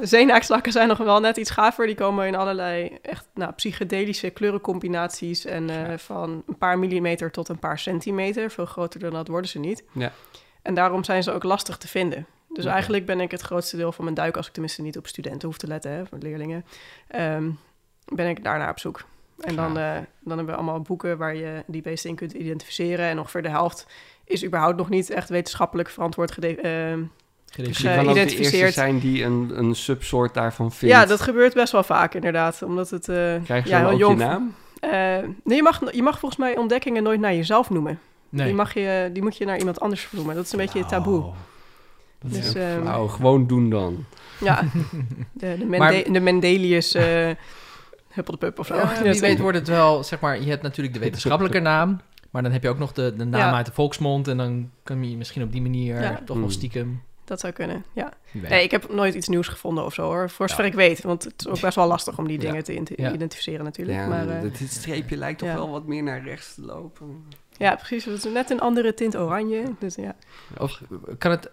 Speaker 3: zeenaaktslakken zijn nog wel net iets gaver. Die komen in allerlei echt nou, psychedelische kleurencombinaties. En eh, van een paar millimeter tot een paar centimeter. Veel groter dan dat worden ze niet.
Speaker 1: Ja.
Speaker 3: En daarom zijn ze ook lastig te vinden. Dus
Speaker 1: Oké.
Speaker 3: eigenlijk ben ik het grootste deel van mijn duik... als ik tenminste niet op studenten hoef te letten, hè, van leerlingen... ehm, ben ik daarnaar op zoek. En dan, eh, dan hebben we allemaal boeken waar je die beesten in kunt identificeren. En ongeveer de helft is überhaupt nog niet echt wetenschappelijk verantwoord gede- ehm,
Speaker 1: Dus
Speaker 2: Gereduceerd.
Speaker 1: je kan ook de eerste
Speaker 3: geïdentificeerd.
Speaker 1: zijn die een, een subsoort daarvan vindt.
Speaker 3: Ja, dat gebeurt best wel vaak inderdaad. Omdat het... eh
Speaker 1: Krijg je
Speaker 3: ja,
Speaker 1: dan
Speaker 3: heel
Speaker 1: ook
Speaker 3: jong.
Speaker 1: je naam?
Speaker 3: eh, nee, je mag, je mag volgens mij ontdekkingen nooit naar jezelf noemen.
Speaker 2: Nee.
Speaker 3: eh, Die, mag je, die moet je naar iemand anders noemen. Dat is een beetje taboe.
Speaker 1: Oh, dat is
Speaker 3: Dus,
Speaker 1: ook
Speaker 3: ehm,
Speaker 1: flauw. gewoon doen dan. <laughs>
Speaker 3: Ja, de, de, Mende-
Speaker 2: Maar-
Speaker 3: de Mendelius eh huppeldepup of zo.
Speaker 2: Ja, wie weet wordt het wel, zeg maar, je hebt natuurlijk de wetenschappelijke naam, maar dan heb je ook nog de, de naam
Speaker 3: Ja.
Speaker 2: uit de volksmond en dan kan je misschien op die manier
Speaker 3: Ja.
Speaker 2: toch wel
Speaker 1: Hmm.
Speaker 2: stiekem.
Speaker 3: Dat zou kunnen, ja.
Speaker 2: wie weet.
Speaker 3: Nee, ik heb nooit iets nieuws gevonden of zo hoor. Voor zover ik weet. Want het is ook best wel lastig om die
Speaker 1: Ja.
Speaker 3: dingen te ident-
Speaker 2: Ja.
Speaker 3: identificeren natuurlijk.
Speaker 1: Ja,
Speaker 3: maar, eh,
Speaker 1: dit- dit streepje lijkt toch
Speaker 3: ja.
Speaker 1: wel wat meer naar rechts te lopen.
Speaker 3: ja, precies. Het is net een andere tint oranje. Dus ja.
Speaker 2: Of kan het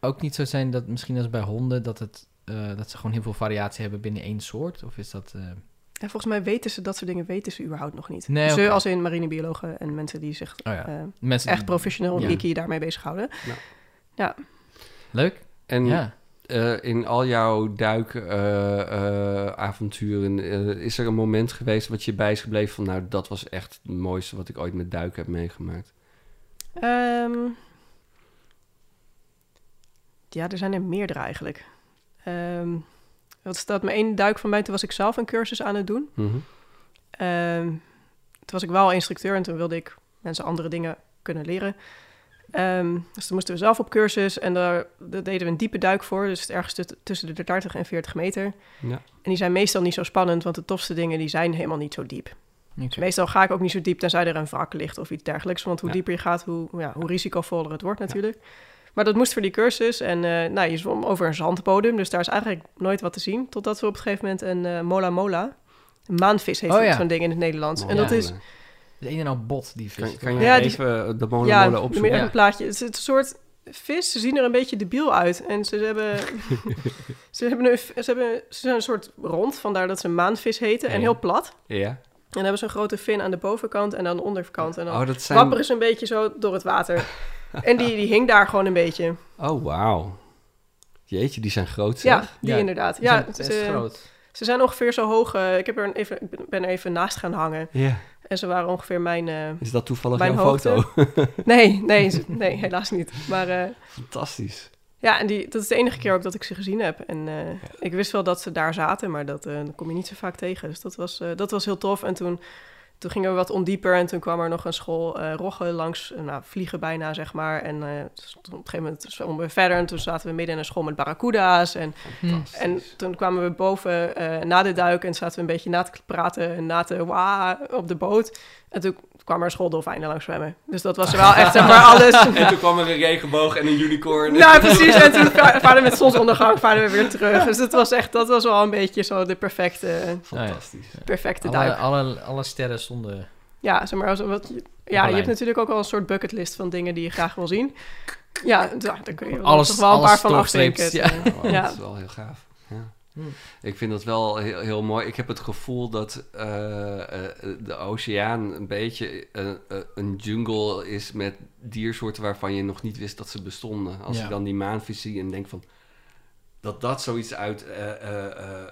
Speaker 2: ook niet zo zijn dat misschien als bij honden dat het eh, dat ze gewoon heel veel variatie hebben binnen één soort? Of is dat. eh,
Speaker 3: Ja, volgens mij weten ze dat soort dingen weten ze überhaupt nog niet.
Speaker 2: Nee,
Speaker 3: ze
Speaker 2: oké.
Speaker 3: als in marinebiologen en mensen die zich
Speaker 2: oh ja,
Speaker 3: eh,
Speaker 2: mensen
Speaker 3: echt professioneel
Speaker 2: Ja.
Speaker 3: en IKI daarmee bezighouden.
Speaker 2: Leuk.
Speaker 1: En
Speaker 2: ja.
Speaker 1: eh, in al jouw eh, duikavonturen, eh, is er een moment geweest wat je bij is gebleven van... nou, dat was echt het mooiste wat ik ooit met duiken heb meegemaakt.
Speaker 3: Ehm, ja, er zijn er meerdere eigenlijk. Ehm wat staat me één duik van mij, toen was ik zelf een cursus aan het doen.
Speaker 1: Mhm.
Speaker 3: Ehm, toen was ik wel instructeur en toen wilde ik mensen andere dingen kunnen leren. Ehm, dus toen moesten we zelf op cursus en daar, daar deden we een diepe duik voor. Dus ergens tut- tussen de 30 en 40 meter.
Speaker 1: Ja.
Speaker 3: En die zijn meestal niet zo spannend, want de tofste dingen die zijn helemaal niet zo diep.
Speaker 2: Oké.
Speaker 3: Meestal ga ik ook niet zo diep, tenzij er een wrak ligt of iets dergelijks. Want hoe
Speaker 1: Ja.
Speaker 3: dieper je gaat, hoe, ja, hoe risicovoller het wordt natuurlijk. Maar dat moest voor die cursus. En eh, nou, je zwom over een zandbodem, dus daar is eigenlijk nooit wat te zien. Totdat we op een gegeven moment een eh, mola mola, een maanvis heet
Speaker 2: Oh
Speaker 3: het,
Speaker 2: ja.
Speaker 3: zo'n ding in het Nederlands.
Speaker 1: Mooi.
Speaker 3: en dat is,
Speaker 2: De een en al bot die vis.
Speaker 1: Kan, kan je
Speaker 3: Ja, die-
Speaker 1: even de molen
Speaker 3: ja,
Speaker 1: molen
Speaker 3: noem je
Speaker 1: opzoeken?
Speaker 3: even
Speaker 2: Ja.
Speaker 3: een plaatje. Het is een soort vis, ze zien er een beetje debiel uit. En ze hebben, ze hebben, een, ze hebben ze zijn een soort rond, vandaar dat ze een maanvis heten.
Speaker 1: Ja.
Speaker 3: En heel plat.
Speaker 1: Ja.
Speaker 3: En dan hebben ze een grote fin aan de bovenkant en aan de onderkant. En dan
Speaker 1: Oh, dat zijn...
Speaker 3: Wapper is een beetje zo door het water. en die, die hing daar gewoon een beetje.
Speaker 1: Oh, wauw. Jeetje, die zijn groot, zeg.
Speaker 3: Ja, die
Speaker 2: Ja,
Speaker 3: inderdaad.
Speaker 2: Die zijn
Speaker 3: Ja, eh,
Speaker 2: best
Speaker 3: ze,
Speaker 2: groot.
Speaker 3: ze zijn ongeveer zo hoog. eh, ik heb er even, ik ben- ben er even naast gaan hangen.
Speaker 1: Ja.
Speaker 3: En ze waren ongeveer mijn... eh,
Speaker 1: Is dat toevallig
Speaker 3: Mijn
Speaker 1: jouw
Speaker 3: hoogte.
Speaker 1: foto?
Speaker 2: <laughs>
Speaker 3: Nee, nee, ze- nee, helaas niet. Maar eh,
Speaker 1: Fantastisch.
Speaker 3: ja, en die, dat is de enige keer ook dat ik ze gezien heb. En eh, ik wist wel dat ze daar zaten, maar dat eh, kom je niet zo vaak tegen. Dus dat was, eh, dat was heel tof. En toen, toen gingen we wat ondieper en toen kwam er nog een school eh roggen langs, eh, nou, vliegen bijna, zeg maar. En eh, dus op een gegeven moment zwommen we verder en toen zaten we midden in een school met barracuda's. En
Speaker 1: Fantastisch.
Speaker 3: En toen kwamen we boven eh, na de duik en zaten we een beetje na te praten en na te waa op de boot. En toen kwam er een schooldolfijnen langs zwemmen. Dus dat was wel echt zeg maar alles.
Speaker 1: En toen kwam er een regenboog en een unicorn. <laughs>
Speaker 3: nou, precies. En toen va- varen we met zonsondergang, varen we weer terug. Dus dat was echt, dat was wel een beetje zo de perfecte,
Speaker 1: Fantastisch.
Speaker 3: perfecte
Speaker 2: Alle,
Speaker 3: duik.
Speaker 2: alle, alle sterren stonden.
Speaker 3: Ja, zeg maar, als- wat, je- ja,
Speaker 2: Berlijn.
Speaker 3: je hebt natuurlijk ook wel een soort bucketlist van dingen die je graag wil zien. Ja, da- daar kun je
Speaker 2: Alles-
Speaker 3: toch wel een
Speaker 2: alles
Speaker 3: paar van
Speaker 2: doorstreept,
Speaker 3: afsteken.
Speaker 2: ja.
Speaker 1: Oh,
Speaker 3: Ja.
Speaker 1: Dat is wel heel gaaf. Ja.
Speaker 2: Hmm.
Speaker 1: Ik vind dat wel heel, heel mooi. Ik heb het gevoel dat eh, eh, de oceaan een beetje eh, eh, een jungle is met diersoorten waarvan je nog niet wist dat ze bestonden. Als
Speaker 2: Ja.
Speaker 1: ik dan die maanvis zie en denk van dat dat zoiets uit eh, eh, eh, eh,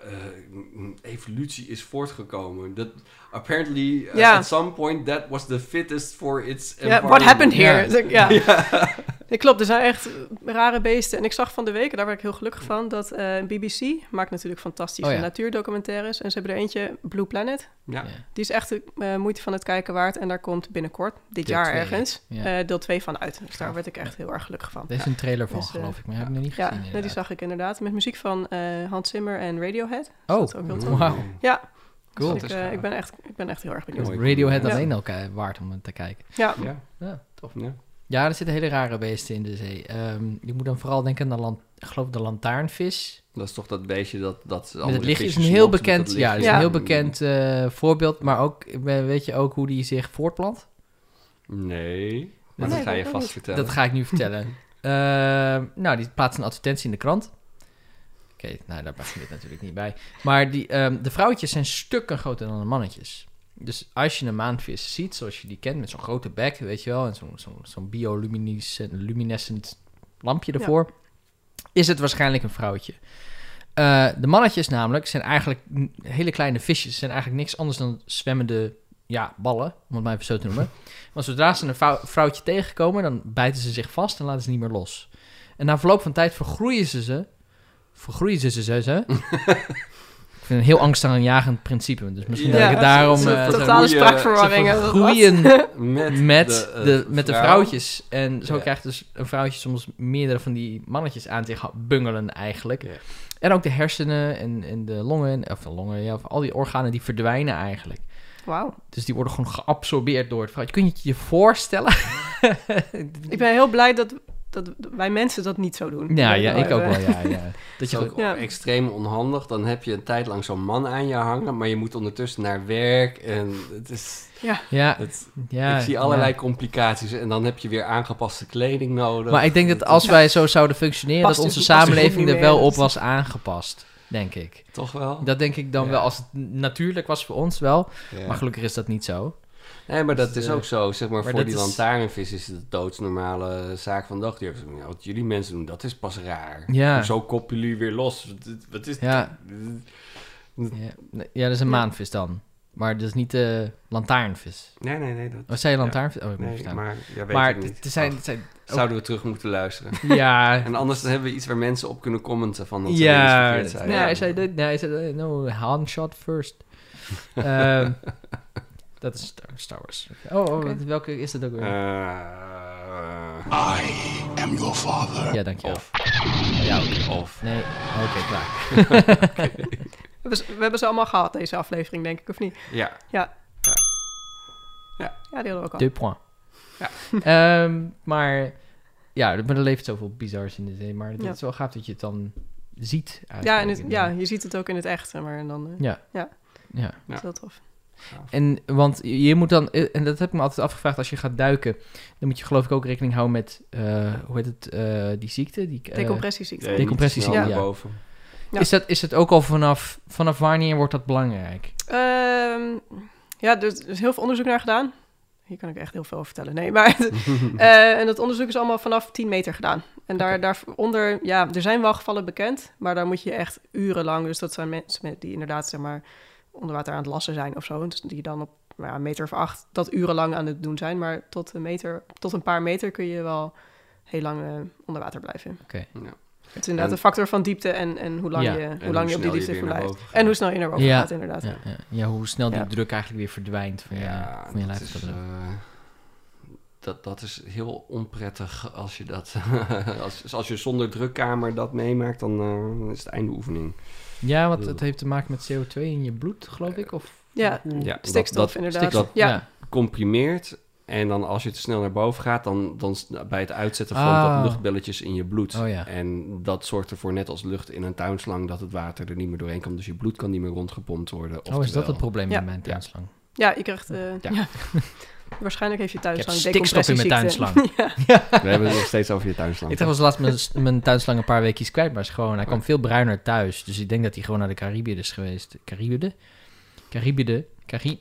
Speaker 1: m- evolutie is voortgekomen. Dat apparently eh,
Speaker 3: Ja.
Speaker 1: at some point that was the fittest for its
Speaker 3: Ja, what happened here?
Speaker 2: Ja.
Speaker 3: Dus ik- Ja. Nee, klopt, er zijn echt rare beesten. En ik zag van de week, en daar werd ik heel gelukkig van, dat eh, BBC maakt natuurlijk fantastische
Speaker 2: Oh ja.
Speaker 3: natuurdocumentaires. En ze hebben er eentje, Blue Planet.
Speaker 1: Ja.
Speaker 3: Die is echt de eh, moeite van het kijken waard. En daar komt binnenkort, dit
Speaker 2: Deel
Speaker 3: jaar
Speaker 2: twee.
Speaker 3: ergens,
Speaker 2: Ja.
Speaker 3: eh, deel 2 van uit. Dus daar werd ik echt heel erg gelukkig van.
Speaker 2: Er is een trailer van,
Speaker 3: Dus, eh,
Speaker 2: geloof ik, maar heb ik nog niet
Speaker 3: Ja,
Speaker 2: gezien.
Speaker 3: nee, die
Speaker 2: inderdaad.
Speaker 3: zag ik inderdaad. Met muziek van eh, Hans Zimmer en Radiohead.
Speaker 2: Oh,
Speaker 3: Dat is ook heel
Speaker 1: Mm.
Speaker 3: tof.
Speaker 2: Wauw.
Speaker 3: Ja,
Speaker 2: cool.
Speaker 3: dus ik, eh, ik, ben echt, ik ben echt heel erg benieuwd.
Speaker 1: Mooi.
Speaker 2: Radiohead
Speaker 3: Ja.
Speaker 2: alleen al ke- waard om te kijken.
Speaker 3: Ja,
Speaker 1: Ja,
Speaker 2: Ja, tof.
Speaker 1: ja.
Speaker 2: Ja, er zitten hele rare beesten in de zee. Ehm ik moet dan vooral denken aan de, lan- ik geloof de lantaarnvis.
Speaker 1: Dat is toch dat beestje dat... dat
Speaker 2: Met het licht is een
Speaker 1: visjes
Speaker 2: heel
Speaker 1: lokt met
Speaker 2: bekend,
Speaker 1: dat
Speaker 2: ja,
Speaker 1: lichtje.
Speaker 2: is een
Speaker 3: Ja.
Speaker 2: heel bekend eh, voorbeeld. Maar ook, eh, weet je ook hoe die zich voortplant?
Speaker 1: Nee, maar
Speaker 3: Nee,
Speaker 1: dat ga
Speaker 3: dat
Speaker 1: je
Speaker 3: weet
Speaker 1: vast
Speaker 3: ik.
Speaker 1: vertellen.
Speaker 2: Dat ga ik nu vertellen. Ehm, nou, die plaatst een advertentie in de krant. Oké, nou daar past dit natuurlijk niet bij. Maar die, ehm, de vrouwtjes zijn stukken groter dan de mannetjes. Dus als je een maanvis ziet, zoals je die kent, met zo'n grote bek, weet je wel, en zo'n zo'n zo'n bioluminescent luminescent lampje
Speaker 3: Ja.
Speaker 2: ervoor, is het waarschijnlijk een vrouwtje. Eh, de mannetjes namelijk zijn eigenlijk n- hele kleine visjes, zijn eigenlijk niks anders dan zwemmende ja, ballen, om het maar even zo te
Speaker 3: <laughs>
Speaker 2: noemen. Want zodra ze een vrouw- vrouwtje tegenkomen, dan bijten ze zich vast en laten ze niet meer los. En na verloop van tijd vergroeien ze ze. Vergroeien ze ze, ze,
Speaker 3: <laughs>
Speaker 2: ze. Ik vind het een heel angstaanjagend principe. Dus misschien
Speaker 1: Ja,
Speaker 2: dat ik het daarom...
Speaker 1: ze-
Speaker 2: eh,
Speaker 1: ze-
Speaker 2: ze
Speaker 3: totale
Speaker 1: Ze
Speaker 3: spraakverwarring. hè, dat-
Speaker 2: vergroeien
Speaker 1: Met,
Speaker 2: met,
Speaker 1: eh,
Speaker 2: de, met de
Speaker 1: vrouw.
Speaker 2: vrouwtjes. En zo
Speaker 1: Ja.
Speaker 2: krijgt dus een vrouwtje soms meerdere van die mannetjes aan zich bungelen eigenlijk.
Speaker 1: Ja.
Speaker 2: En ook de hersenen en, en de longen, of de longen, ja, of al die organen die verdwijnen eigenlijk.
Speaker 3: Wauw.
Speaker 2: Dus die worden gewoon geabsorbeerd door het vrouwtje. Kun je het je voorstellen?
Speaker 3: Ik ben heel blij dat, dat wij mensen dat niet zo
Speaker 2: <laughs>
Speaker 3: doen.
Speaker 2: ja,
Speaker 3: Dat
Speaker 2: ja,
Speaker 3: we-
Speaker 2: ik ook wel, ja. ja. Dat
Speaker 1: Dat is
Speaker 2: je gewoon-
Speaker 1: ook
Speaker 3: Ja.
Speaker 1: extreem onhandig. Dan heb je een tijd lang zo'n man aan je hangen, maar je moet ondertussen naar werk. En het is,
Speaker 2: ja,
Speaker 1: het,
Speaker 2: ja,
Speaker 1: ik zie allerlei
Speaker 2: ja.
Speaker 1: complicaties. En dan heb je weer aangepaste kleding nodig.
Speaker 2: Maar ik denk dat als wij zo zouden functioneren,
Speaker 3: Past
Speaker 2: dat onze
Speaker 3: het- past het goed
Speaker 2: samenleving
Speaker 3: niet
Speaker 2: er
Speaker 3: meer,
Speaker 2: wel op
Speaker 3: dat-
Speaker 2: was aangepast, denk ik.
Speaker 1: Toch wel?
Speaker 2: Dat denk ik dan
Speaker 1: Ja.
Speaker 2: wel, als het natuurlijk was voor ons wel.
Speaker 1: Ja.
Speaker 2: Maar gelukkig is dat niet zo.
Speaker 1: Nee, maar dat
Speaker 2: Dus,
Speaker 1: is
Speaker 2: eh,
Speaker 1: ook zo. Zeg maar,
Speaker 2: maar
Speaker 1: voor
Speaker 2: dat
Speaker 1: die
Speaker 2: is-
Speaker 1: lantaarnvis is het de doodsnormale zaak van de dag. Die hebben ze, "Nou, wat jullie mensen doen, dat is pas raar.
Speaker 2: Ja.
Speaker 1: Zo koppelen jullie weer los. Wat- Wat is
Speaker 2: Ja. Ja, Nee, ja dat is een
Speaker 3: Ja.
Speaker 2: maanvis dan. Maar dat is niet de lantaarnvis.
Speaker 1: Nee, nee, nee. Dat...
Speaker 2: Wat zei je lantaarnvis? Oh, ik moet
Speaker 1: Nee,
Speaker 2: verstaan.
Speaker 1: maar ja, weet
Speaker 2: Maar
Speaker 1: ik niet.
Speaker 2: het het zijn...
Speaker 1: Ach,
Speaker 2: het zijn
Speaker 1: Zouden we terug moeten
Speaker 2: <laughs>
Speaker 1: luisteren.
Speaker 2: ja,
Speaker 1: <laughs> En anders dan hebben we iets waar mensen op kunnen commenten van dat ze
Speaker 2: Ja,
Speaker 1: weer eens verkeerd
Speaker 2: nee,
Speaker 1: zijn.
Speaker 2: hij zei dit, nee, hij zei, eh, no, Han shot first.
Speaker 1: <laughs>
Speaker 2: Ehm, dat is Star, Star Wars. Oh, oh,
Speaker 3: Oké.
Speaker 2: welke is dat ook weer?
Speaker 1: Eh,
Speaker 4: I am your father.
Speaker 2: ja, dankjewel.
Speaker 1: of. Of.
Speaker 2: Nee, Oh, oké, klaar.
Speaker 1: <laughs>
Speaker 2: <laughs>
Speaker 3: We hebben ze- we hebben ze allemaal gehad, deze aflevering, denk ik, of niet?
Speaker 1: Ja.
Speaker 3: Ja, die hadden we ook al.
Speaker 2: Deux points.
Speaker 1: Ja.
Speaker 2: <laughs> Ehm, maar ja, maar er leeft zoveel bizars in de zee. Maar het
Speaker 3: Ja.
Speaker 2: is wel gaaf dat je het dan ziet.
Speaker 3: Ja, en
Speaker 2: eigenlijk.
Speaker 3: het- ja, je ziet het ook in het echt, zeg maar en dan eh,
Speaker 2: Ja.
Speaker 3: Ja.
Speaker 2: ja.
Speaker 3: is dat tof.
Speaker 2: En want je je moet dan, eh, en dat heb ik me altijd afgevraagd als je gaat duiken, dan moet je geloof ik ook rekening houden met, eh, hoe heet het, eh, die ziekte? Die, eh,
Speaker 3: Decompressieziekte.
Speaker 1: Nee,
Speaker 2: Decompressie
Speaker 1: niet te
Speaker 3: is-
Speaker 1: snel
Speaker 2: ja.
Speaker 1: naar boven.
Speaker 3: Ja.
Speaker 2: Is, dat, is dat ook al vanaf, vanaf wanneer wordt dat belangrijk?
Speaker 3: Ehm, ja, er is er is heel veel onderzoek naar gedaan. Hier kan ik echt heel veel over vertellen.
Speaker 2: <laughs>
Speaker 3: Nee, maar... eh, en dat onderzoek is allemaal vanaf 10 meter gedaan. En daar, daaronder... Ja, er zijn wel gevallen bekend, maar daar moet je echt urenlang... Dus dat zijn mensen met- die inderdaad, zeg maar... onder water aan het lassen zijn of zo. Dus die dan op nou ja, een meter of acht dat urenlang aan het doen zijn. Maar tot een, meter, tot een paar meter kun je wel heel lang eh, onder water blijven.
Speaker 2: Oké.
Speaker 1: Ja.
Speaker 3: Het is inderdaad
Speaker 1: En-
Speaker 3: een factor van diepte en, en hoe lang,
Speaker 2: Ja.
Speaker 3: je,
Speaker 1: hoe
Speaker 3: hoe lang je op die
Speaker 1: snel je
Speaker 3: diepte
Speaker 1: weer naar
Speaker 3: blijft.
Speaker 1: boven gaat.
Speaker 3: En hoe snel je naar boven
Speaker 2: Ja.
Speaker 3: gaat, inderdaad.
Speaker 2: Ja, ja. ja, hoe snel die
Speaker 3: Ja.
Speaker 2: druk eigenlijk weer verdwijnt van je,
Speaker 1: Ja,
Speaker 2: van
Speaker 1: dat
Speaker 2: je lijf.
Speaker 1: is, eh, dat, dat is heel onprettig als je dat... <laughs> als, als je zonder drukkamer dat meemaakt, dan eh, is het einde oefening.
Speaker 2: ja, want het heeft te maken met CO2 in je bloed, geloof ik? Of
Speaker 3: Ja.
Speaker 2: hoe-
Speaker 1: Ja, dat-
Speaker 3: Stikstof,
Speaker 1: dat-
Speaker 3: inderdaad.
Speaker 1: stikstof.
Speaker 3: ja.
Speaker 1: comprimeert. En dan als je te snel naar boven gaat, dan, dan s- bij het uitzetten van
Speaker 2: Ah.
Speaker 1: dat luchtbelletjes in je bloed.
Speaker 2: Oh ja.
Speaker 1: En dat zorgt ervoor, net als lucht in een tuinslang, dat het water er niet meer doorheen komt. Dus je bloed kan niet meer rondgepompt worden.
Speaker 2: Oh, is dat
Speaker 1: Oftewel-
Speaker 2: het probleem
Speaker 3: Ja.
Speaker 2: met mijn tuinslang?
Speaker 3: Ja, je krijgt... eh,
Speaker 1: Ja.
Speaker 3: ja. <laughs> Waarschijnlijk heeft je
Speaker 2: Ik heb
Speaker 3: tuinslang
Speaker 2: stikstof in mijn
Speaker 3: decompressieziekte. ja.
Speaker 1: We hebben het nog steeds over je tuinslang.
Speaker 2: <laughs> Ik was laatst mijn, mijn tuinslang een paar weekjes kwijt, maar is gewoon, hij kwam veel bruiner thuis. Dus ik denk dat hij gewoon naar de Caribië is geweest. Caribië? Caribië? <laughs> Caribië?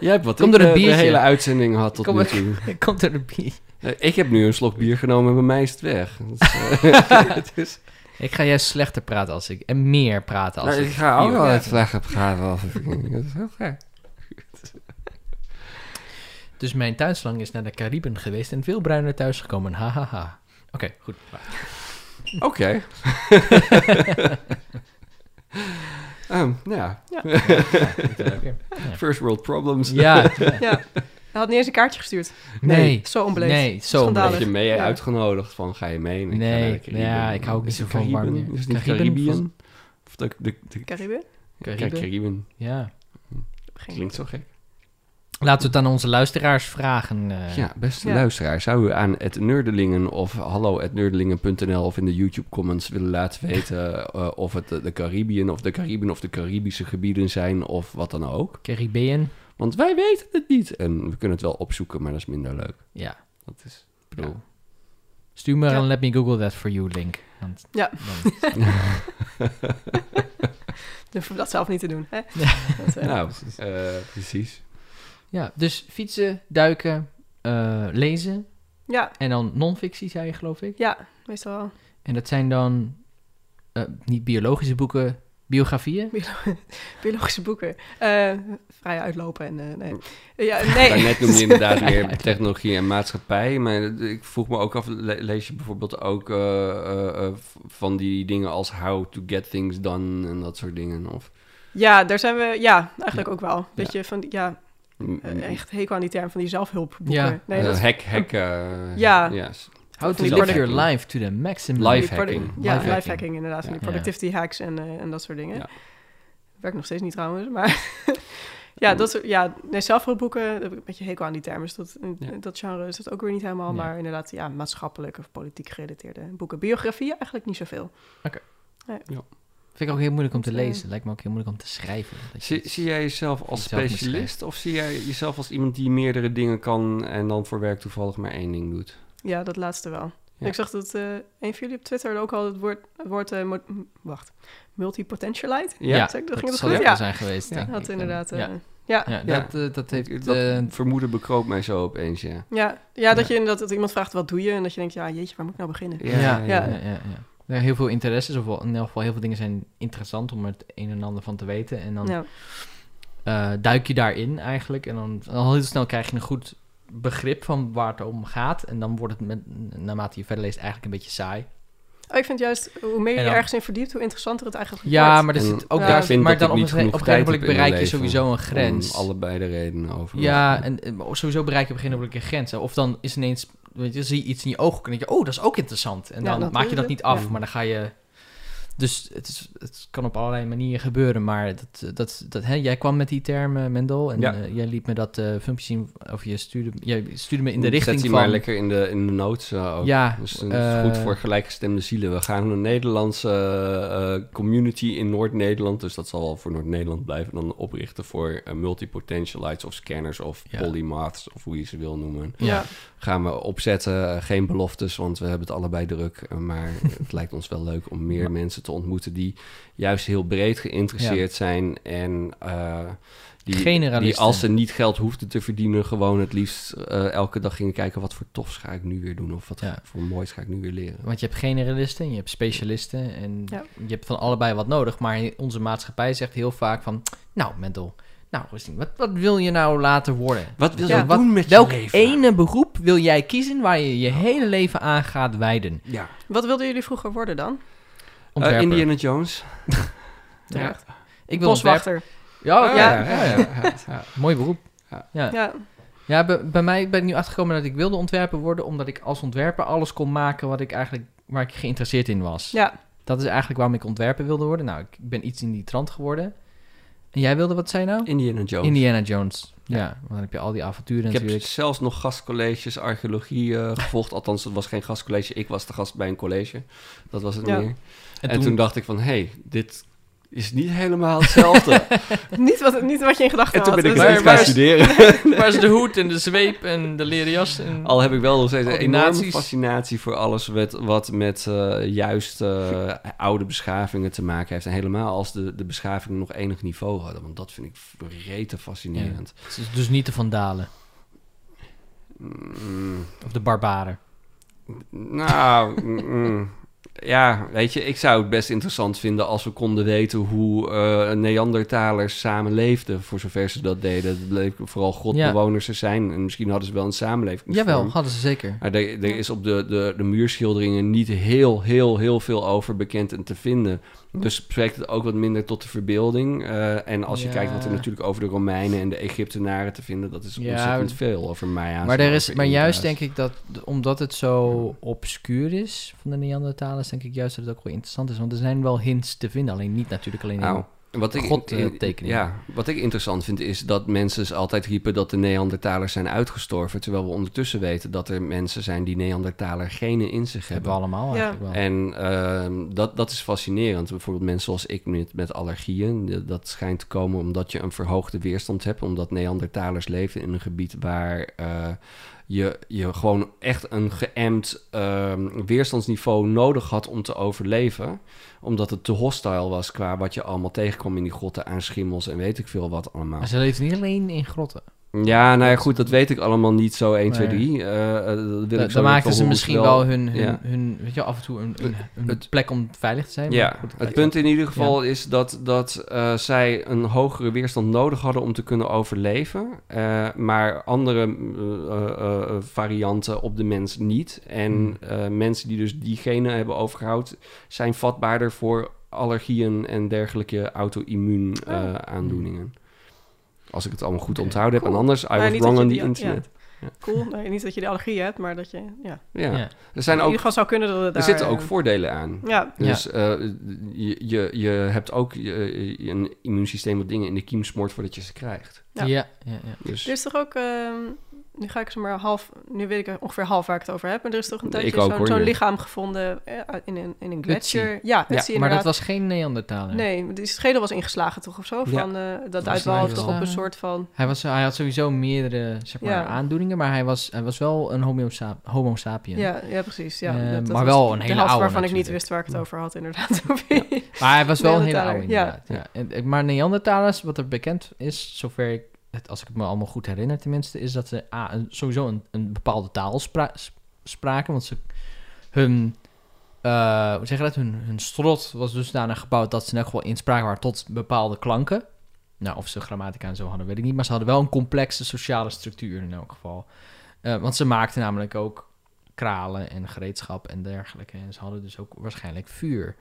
Speaker 1: Jij hebt wat
Speaker 2: Kom
Speaker 1: ik
Speaker 2: door een
Speaker 1: eh, de
Speaker 2: biertje.
Speaker 1: hele uitzending had tot
Speaker 2: Kom
Speaker 1: nu
Speaker 2: maar.
Speaker 1: toe. <laughs>
Speaker 2: Komt er een bier?
Speaker 1: Eh, Ik heb nu een slok bier genomen en bij mij is het
Speaker 2: <laughs>
Speaker 1: weg. Dat is, eh, <laughs> het is-
Speaker 2: Ik ga juist slechter praten als ik... En meer praten als
Speaker 1: Nou,
Speaker 2: ik...
Speaker 1: ik ga ook
Speaker 2: bier-
Speaker 1: wel
Speaker 2: Ja.
Speaker 1: het weg heb gehaald. als ik- <laughs> Dat is heel gek.
Speaker 2: Dus mijn tuinslang is naar de Cariben geweest en veel bruiner thuis gekomen. Ha, ha, ha. Oké, goed.
Speaker 1: Oké. Ehm, nou <laughs> ja, first world problems.
Speaker 2: eh, <laughs> Ja,
Speaker 3: Ja. <laughs> Hij had niet eens een kaartje gestuurd.
Speaker 2: nee.
Speaker 3: Zo onbeleefd.
Speaker 2: Nee, zo
Speaker 3: Schandalig.
Speaker 1: Heb je mee
Speaker 3: Ja.
Speaker 1: uitgenodigd van ga je mee? En ik ga
Speaker 2: Nee,
Speaker 1: naar de Cariben.
Speaker 2: ja, ik hou ook niet
Speaker 1: Is het
Speaker 2: zo van warm
Speaker 1: Cariben?
Speaker 2: weer.
Speaker 1: Is het niet
Speaker 2: Cariben
Speaker 1: Caribian?
Speaker 2: volgens-
Speaker 1: Of de, de, de,
Speaker 3: Cariben?
Speaker 1: Cariben?
Speaker 2: Cariben? Ja.
Speaker 3: Geen
Speaker 1: Klinkt zo gek.
Speaker 2: Laten we het aan onze luisteraars vragen. eh.
Speaker 1: Ja, beste
Speaker 3: Ja.
Speaker 1: luisteraar, zou u aan het Nerdelingen of hallo.nerdelingen.nl of in de YouTube-comments willen laten weten eh, of het de, de Caribbean of de Cariben of de Caribische gebieden zijn of wat dan ook?
Speaker 2: Caribbean.
Speaker 1: Want wij weten het niet en we kunnen het wel opzoeken, maar dat is minder leuk.
Speaker 2: Ja,
Speaker 1: Dat is, ik
Speaker 2: bedoel.
Speaker 1: bedoel,
Speaker 2: Stuur me
Speaker 3: Ja.
Speaker 2: een Let Me Google That For You link. Want
Speaker 3: Ja.
Speaker 2: dan-
Speaker 3: Durf ik dat zelf niet te doen. Hè?
Speaker 2: Ja.
Speaker 1: <laughs>
Speaker 3: Dat, eh,
Speaker 1: nou, eh, precies.
Speaker 2: ja, dus fietsen, duiken, eh, lezen
Speaker 3: ja,
Speaker 2: en dan non-fictie, zei je geloof ik.
Speaker 3: ja, meestal wel.
Speaker 2: En dat zijn dan eh, niet biologische boeken, biografieën.
Speaker 3: Biologische boeken. Eh, vrij uitlopen en eh, nee. Ja,
Speaker 1: <laughs>
Speaker 3: nee.
Speaker 1: Daarnet noemde je inderdaad
Speaker 3: <laughs>
Speaker 1: meer technologie en maatschappij. Maar ik vroeg me ook af, le- lees je bijvoorbeeld ook eh, eh, eh, v- van die dingen als how to get things done en dat soort dingen? Of
Speaker 3: <laughs> Ja, daar zijn we. Ja, eigenlijk ook wel. Beetje van die- ja,
Speaker 1: mm,
Speaker 3: eh, echt hekel aan die term van die zelfhulpboeken.
Speaker 2: Ja.
Speaker 3: nee,
Speaker 1: eh,
Speaker 3: dat is
Speaker 1: hack, hack. eh,
Speaker 3: Ja.
Speaker 1: yes.
Speaker 2: How to
Speaker 3: die
Speaker 2: live
Speaker 3: product-
Speaker 2: your life to the maximum.
Speaker 3: van die
Speaker 1: Lifehacking.
Speaker 3: produ-
Speaker 1: Lifehacking.
Speaker 3: Ja,
Speaker 2: Lifehacking.
Speaker 3: lifehacking, inderdaad. Van die
Speaker 2: Ja.
Speaker 3: productivity hacks en, eh, en dat soort dingen.
Speaker 1: Ja.
Speaker 3: Werkt nog steeds niet trouwens, maar... <laughs> ja, dat soort, ja, nee, zelfhulpboeken, daar heb ik een beetje hekel aan die term. Dus dat,
Speaker 1: Ja.
Speaker 3: dat genre is dat ook weer niet helemaal.
Speaker 2: Nee.
Speaker 3: Maar inderdaad, ja, maatschappelijk of politiek gerelateerde boeken. Biografieën eigenlijk niet zoveel.
Speaker 2: Vind ik ook heel moeilijk om te
Speaker 3: Want, eh,
Speaker 2: lezen. Lijkt me ook heel moeilijk om te schrijven. Dat je
Speaker 1: Zie,
Speaker 2: iets-
Speaker 1: zie jij jezelf als
Speaker 2: Jezelf moet
Speaker 1: specialist of zie jij jezelf als iemand die meerdere dingen kan en dan voor werk toevallig maar één ding doet?
Speaker 3: Ja, dat laatste wel.
Speaker 1: Ja.
Speaker 3: Ik zag dat eh, een van jullie op Twitter ook al het woord, het woord eh, mo- m- wacht, multipotentialite.
Speaker 1: Ja,
Speaker 3: zeg ik, dat
Speaker 2: dat
Speaker 3: ging het
Speaker 2: zal
Speaker 3: goed?
Speaker 2: het
Speaker 3: Ja.
Speaker 2: wel zijn geweest.
Speaker 1: Ja,
Speaker 2: denk
Speaker 3: Dat
Speaker 2: ik.
Speaker 3: inderdaad, eh,
Speaker 2: Ja,
Speaker 3: ja.
Speaker 2: Ja,
Speaker 1: Ja.
Speaker 2: dat, eh, dat heeft...
Speaker 1: dat
Speaker 2: eh,
Speaker 1: vermoeden bekroopt mij zo opeens, ja.
Speaker 3: Ja, ja, dat je inderdaad dat iemand vraagt wat doe je en dat je denkt ja jeetje waar moet ik nou beginnen?
Speaker 2: Ja, ja, ja.
Speaker 3: ja.
Speaker 2: ja, Er heel veel interesses, of wel- in elk geval heel veel dingen zijn interessant om het een en ander van te weten. En dan
Speaker 3: Ja,
Speaker 2: eh, duik je daarin eigenlijk. En dan al heel snel krijg je een goed begrip van waar het om gaat. En dan wordt het, met, naarmate je verder leest, eigenlijk een beetje saai.
Speaker 3: Oh, ik vind juist hoe meer je
Speaker 2: En
Speaker 3: je
Speaker 2: dan-
Speaker 3: ergens in verdiept hoe interessanter het eigenlijk
Speaker 2: Ja,
Speaker 3: wordt.
Speaker 2: maar er
Speaker 1: En
Speaker 2: zit ook
Speaker 3: ik
Speaker 2: daar...
Speaker 1: vind
Speaker 2: Maar
Speaker 1: dat ik
Speaker 2: dan op
Speaker 1: niet
Speaker 2: een gege-
Speaker 1: genoeg
Speaker 2: op een gegeven
Speaker 1: tijd heb in
Speaker 2: moment
Speaker 1: mijn
Speaker 2: bereik je
Speaker 1: leven
Speaker 2: sowieso een
Speaker 1: Om
Speaker 2: grens.
Speaker 1: allebei de redenen over.
Speaker 2: Ja, en eh, sowieso bereik je op een gegeven moment een grens. Hè. Of dan is ineens, weet je, zie je iets in je ogen en denk je, oh, dat is ook interessant. En
Speaker 3: Ja,
Speaker 2: dan
Speaker 3: dat
Speaker 2: maak je
Speaker 3: is
Speaker 2: dat
Speaker 3: het.
Speaker 2: niet af,
Speaker 1: Ja.
Speaker 2: maar dan ga je... Dus het, is, het kan op allerlei manieren gebeuren, maar dat, dat, dat, hè, jij kwam met die term, eh, Mendel, en
Speaker 1: Ja.
Speaker 2: eh, jij liet me dat eh, filmpje zien, of je stuurde, jij stuurde me in de
Speaker 1: Zet
Speaker 2: richting
Speaker 1: die
Speaker 2: van...
Speaker 1: maar lekker in de, in de notes eh, ook.
Speaker 2: Ja,
Speaker 1: Dus het is goed
Speaker 2: eh,
Speaker 1: voor gelijkgestemde zielen. We gaan een Nederlandse eh, eh, community in Noord-Nederland, dus dat zal wel voor Noord-Nederland blijven, dan oprichten voor eh, multipotentialites of scanners of
Speaker 2: Ja.
Speaker 1: polymaths of hoe je ze wil noemen.
Speaker 2: Ja.
Speaker 3: Ja.
Speaker 1: Gaan we opzetten, eh, geen beloftes, want we hebben het allebei druk. eh, Maar <laughs> het lijkt ons wel leuk om meer mensen te ontmoeten die juist heel breed geïnteresseerd zijn en... eh, die, die
Speaker 2: Generalisten.
Speaker 1: als ze niet geld hoefden te verdienen, gewoon het liefst eh, elke dag gingen kijken wat voor tofs ga ik nu weer doen of wat
Speaker 2: Ja.
Speaker 1: voor moois ga ik nu weer leren.
Speaker 2: Want je hebt generalisten, en je hebt specialisten en
Speaker 3: Ja.
Speaker 2: je hebt van allebei wat nodig. Maar onze maatschappij zegt heel vaak van, nou Mendel, nou Christine, wat, wat wil je nou later worden?
Speaker 1: Wat wil
Speaker 3: Ja,
Speaker 1: je
Speaker 2: wat-
Speaker 1: doen met
Speaker 2: Welk
Speaker 1: je leven?
Speaker 2: ene beroep wil jij kiezen waar je je hele leven aan gaat wijden?
Speaker 1: Ja.
Speaker 3: Wat wilden jullie vroeger worden dan?
Speaker 1: Eh,
Speaker 2: Ontwerper.
Speaker 1: Indiana Jones.
Speaker 2: Ja. Ik
Speaker 3: Ik
Speaker 2: wil ontwerper. Oh, Ja,
Speaker 3: Boswachter.
Speaker 1: Ah,
Speaker 2: oké.
Speaker 3: Ja.
Speaker 2: Ja, ja, ja. Ja, Mooi beroep.
Speaker 1: Ja.
Speaker 2: Ja,
Speaker 3: Ja.
Speaker 2: ja bij, bij mij ben ik nu achtergekomen dat ik wilde ontwerper worden... omdat ik als ontwerper alles kon maken wat ik eigenlijk, waar ik geïnteresseerd in was.
Speaker 3: ja,
Speaker 2: Dat is eigenlijk waarom ik ontwerper wilde worden. Nou, ik ben iets in die trant geworden. En jij wilde, wat zei nou?
Speaker 1: Indiana Jones.
Speaker 2: Indiana Jones. Ja, want dan heb je al die avonturen
Speaker 1: ik heb
Speaker 2: natuurlijk.
Speaker 1: zelfs nog gastcolleges archeologie eh, gevolgd. Althans, het was geen gastcollege. Ik was de gast bij een college. Dat was het
Speaker 3: Ja.
Speaker 1: meer. En, toen, dacht ik van, hé, hey, dit is niet helemaal
Speaker 2: <laughs>
Speaker 1: hetzelfde.
Speaker 3: Niet wat, niet wat je in gedachten
Speaker 1: en
Speaker 3: had.
Speaker 1: toen ben ik
Speaker 3: dus-
Speaker 2: waar-
Speaker 1: het
Speaker 2: waar
Speaker 1: gaan
Speaker 2: is-
Speaker 1: studeren.
Speaker 2: <laughs> Waar is de hoed en de zweep en de leren jas? En...
Speaker 1: Al heb ik wel nog steeds
Speaker 2: Al
Speaker 1: een
Speaker 2: die
Speaker 1: enorme
Speaker 2: nazi's.
Speaker 1: fascinatie voor alles wat, wat met eh, juist eh, oude beschavingen te maken heeft. En helemaal als de, de beschavingen nog enig niveau hadden. Want dat vind ik rete fascinerend.
Speaker 2: Het is Dus niet de vandalen
Speaker 1: Mm.
Speaker 2: of de barbaren.
Speaker 1: Nou, mm, ja, weet je, ik zou het best interessant vinden als we konden weten hoe eh, Neandertalers samenleefden, voor zover ze dat deden. Het bleek vooral grotbewoners er zijn en misschien hadden ze wel een samenleving.
Speaker 2: Jawel, hadden ze zeker.
Speaker 1: Maar er, er is op de, de, de muurschilderingen niet heel, heel, heel veel over bekend en te vinden. Dus spreekt het ook wat minder tot de verbeelding. Eh, en als je
Speaker 2: Ja.
Speaker 1: kijkt wat er natuurlijk over de Romeinen en de Egyptenaren te vinden, dat is
Speaker 2: Ja,
Speaker 1: ontzettend veel over Maya's.
Speaker 2: Maar,
Speaker 1: en
Speaker 2: er is,
Speaker 1: over
Speaker 2: maar juist
Speaker 1: Inca's.
Speaker 2: denk ik dat, omdat het zo obscuur is van de Neandertalers, denk ik juist dat het ook wel interessant is. Want er zijn wel hints te vinden, alleen niet natuurlijk alleen in...
Speaker 1: Nou, wat ik,
Speaker 2: God, eh, tekening.
Speaker 1: Ja, wat ik interessant vind is dat mensen dus altijd riepen dat de Neandertalers zijn uitgestorven. Terwijl we ondertussen weten dat er mensen zijn die Neandertaler genen in zich
Speaker 2: hebben
Speaker 1: hebben.
Speaker 2: we allemaal
Speaker 3: Ja.
Speaker 2: eigenlijk wel.
Speaker 1: En ehm, dat, dat is fascinerend. Bijvoorbeeld mensen zoals ik met, met allergieën. de- Dat schijnt te komen omdat je een verhoogde weerstand hebt. Omdat Neandertalers leefden in een gebied waar eh, je, je gewoon echt een geëmd ehm, weerstandsniveau nodig had om te overleven. Omdat het te hostile was qua wat je allemaal tegenkwam in die grotten aan schimmels en weet ik veel wat allemaal.
Speaker 2: Maar ze leeft niet alleen in grotten.
Speaker 1: Ja, nou ja, goed, dat weet ik allemaal niet zo 1, 2,
Speaker 2: Nee.
Speaker 1: 3. Eh, eh, dat wil ik
Speaker 2: Da
Speaker 1: zo
Speaker 2: dan
Speaker 1: niet
Speaker 2: maken
Speaker 1: van
Speaker 2: ze
Speaker 1: hoe
Speaker 2: misschien
Speaker 1: het
Speaker 2: wel hun, hun,
Speaker 1: ja.
Speaker 2: hun weet je, wel, af en toe een, een, een
Speaker 1: het-
Speaker 2: plek om veilig te zijn. maar
Speaker 1: Ja,
Speaker 2: goed, dat
Speaker 1: het
Speaker 2: lijkt
Speaker 1: punt
Speaker 2: wel.
Speaker 1: in ieder geval is dat, dat eh, zij een hogere weerstand nodig hadden om te kunnen overleven. Eh, maar andere eh, eh, eh, varianten op de mens niet. En
Speaker 2: Hmm.
Speaker 1: eh, mensen die dus die genen hebben overgehouden, zijn vatbaarder voor allergieën en dergelijke auto-immuun eh,
Speaker 3: Oh.
Speaker 1: aandoeningen. Als ik het allemaal goed
Speaker 2: Oké,
Speaker 1: onthouden heb. En
Speaker 3: cool.
Speaker 1: anders, I
Speaker 3: Nou,
Speaker 1: was
Speaker 3: niet
Speaker 1: wrong
Speaker 3: dat
Speaker 1: on
Speaker 3: je
Speaker 1: the
Speaker 3: die-
Speaker 1: internet.
Speaker 3: Cool. Nee, niet dat je de allergie hebt, maar dat je... Ja.
Speaker 1: Ja.
Speaker 2: Ja.
Speaker 1: Er, zijn
Speaker 3: In
Speaker 1: ook,
Speaker 3: ieder geval zou kunnen dat het
Speaker 1: er
Speaker 3: daar...
Speaker 1: zitten ook
Speaker 3: eh,
Speaker 1: voordelen aan.
Speaker 3: Ja,
Speaker 2: Ja.
Speaker 1: Dus eh, je, je, je hebt ook eh, je, je- een immuunsysteem wat dingen in de kiem smoort voordat je ze krijgt.
Speaker 3: Ja.
Speaker 2: Ja, ja, ja.
Speaker 1: Dus
Speaker 3: er is toch ook... ehm, nu ga ik ze maar half... Nu weet ik ongeveer half waar ik het over heb. Maar er is toch een
Speaker 1: Nee,
Speaker 3: tijdje
Speaker 1: ik ook,
Speaker 3: zo'n
Speaker 1: hoor,
Speaker 3: zo'n
Speaker 1: nu.
Speaker 3: lichaam gevonden eh, in een, in een
Speaker 2: Utsi.
Speaker 3: gletsjer. Ja,
Speaker 1: Ja,
Speaker 3: het zie je
Speaker 2: Maar dat
Speaker 3: inderdaad.
Speaker 2: was geen Neandertaler.
Speaker 3: Nee, die schedel was ingeslagen toch of zo?
Speaker 1: Ja.
Speaker 3: Van, eh, dat
Speaker 2: Was
Speaker 3: uitwaalde
Speaker 2: hij
Speaker 3: toch op een
Speaker 2: geslagen?
Speaker 3: soort van...
Speaker 2: Hij, was, hij had sowieso meerdere zeg maar,
Speaker 3: Ja.
Speaker 2: aandoeningen, maar hij was, hij was wel een homo, sa- homo sapien.
Speaker 3: Ja, ja precies. Ja.
Speaker 2: Eh,
Speaker 3: Dat- dat
Speaker 2: maar
Speaker 3: was
Speaker 2: wel een
Speaker 3: de
Speaker 2: hele
Speaker 3: helft
Speaker 2: oude
Speaker 3: waarvan ik niet
Speaker 2: natuurlijk.
Speaker 3: wist waar ik het over had, inderdaad. <laughs> Ja.
Speaker 2: Maar hij was wel een hele oude
Speaker 3: Neandertaler, ja.
Speaker 2: inderdaad. Ja. En- eh, Maar Neandertalers, wat er bekend is, zover ik het, als ik het me allemaal goed herinner tenminste, is dat ze A, een- sowieso een, een bepaalde taal spra- s- spraken. Want ze, hun, eh, hoe zeg je dat, hun, hun strot was dusdanig gebouwd dat ze in elk geval in spraak waren tot bepaalde klanken. Nou, of ze grammatica en zo hadden, weet ik niet. Maar ze hadden wel een complexe sociale structuur in elk geval. Eh, want ze maakten namelijk ook kralen en gereedschap en dergelijke. En ze hadden dus ook waarschijnlijk vuur.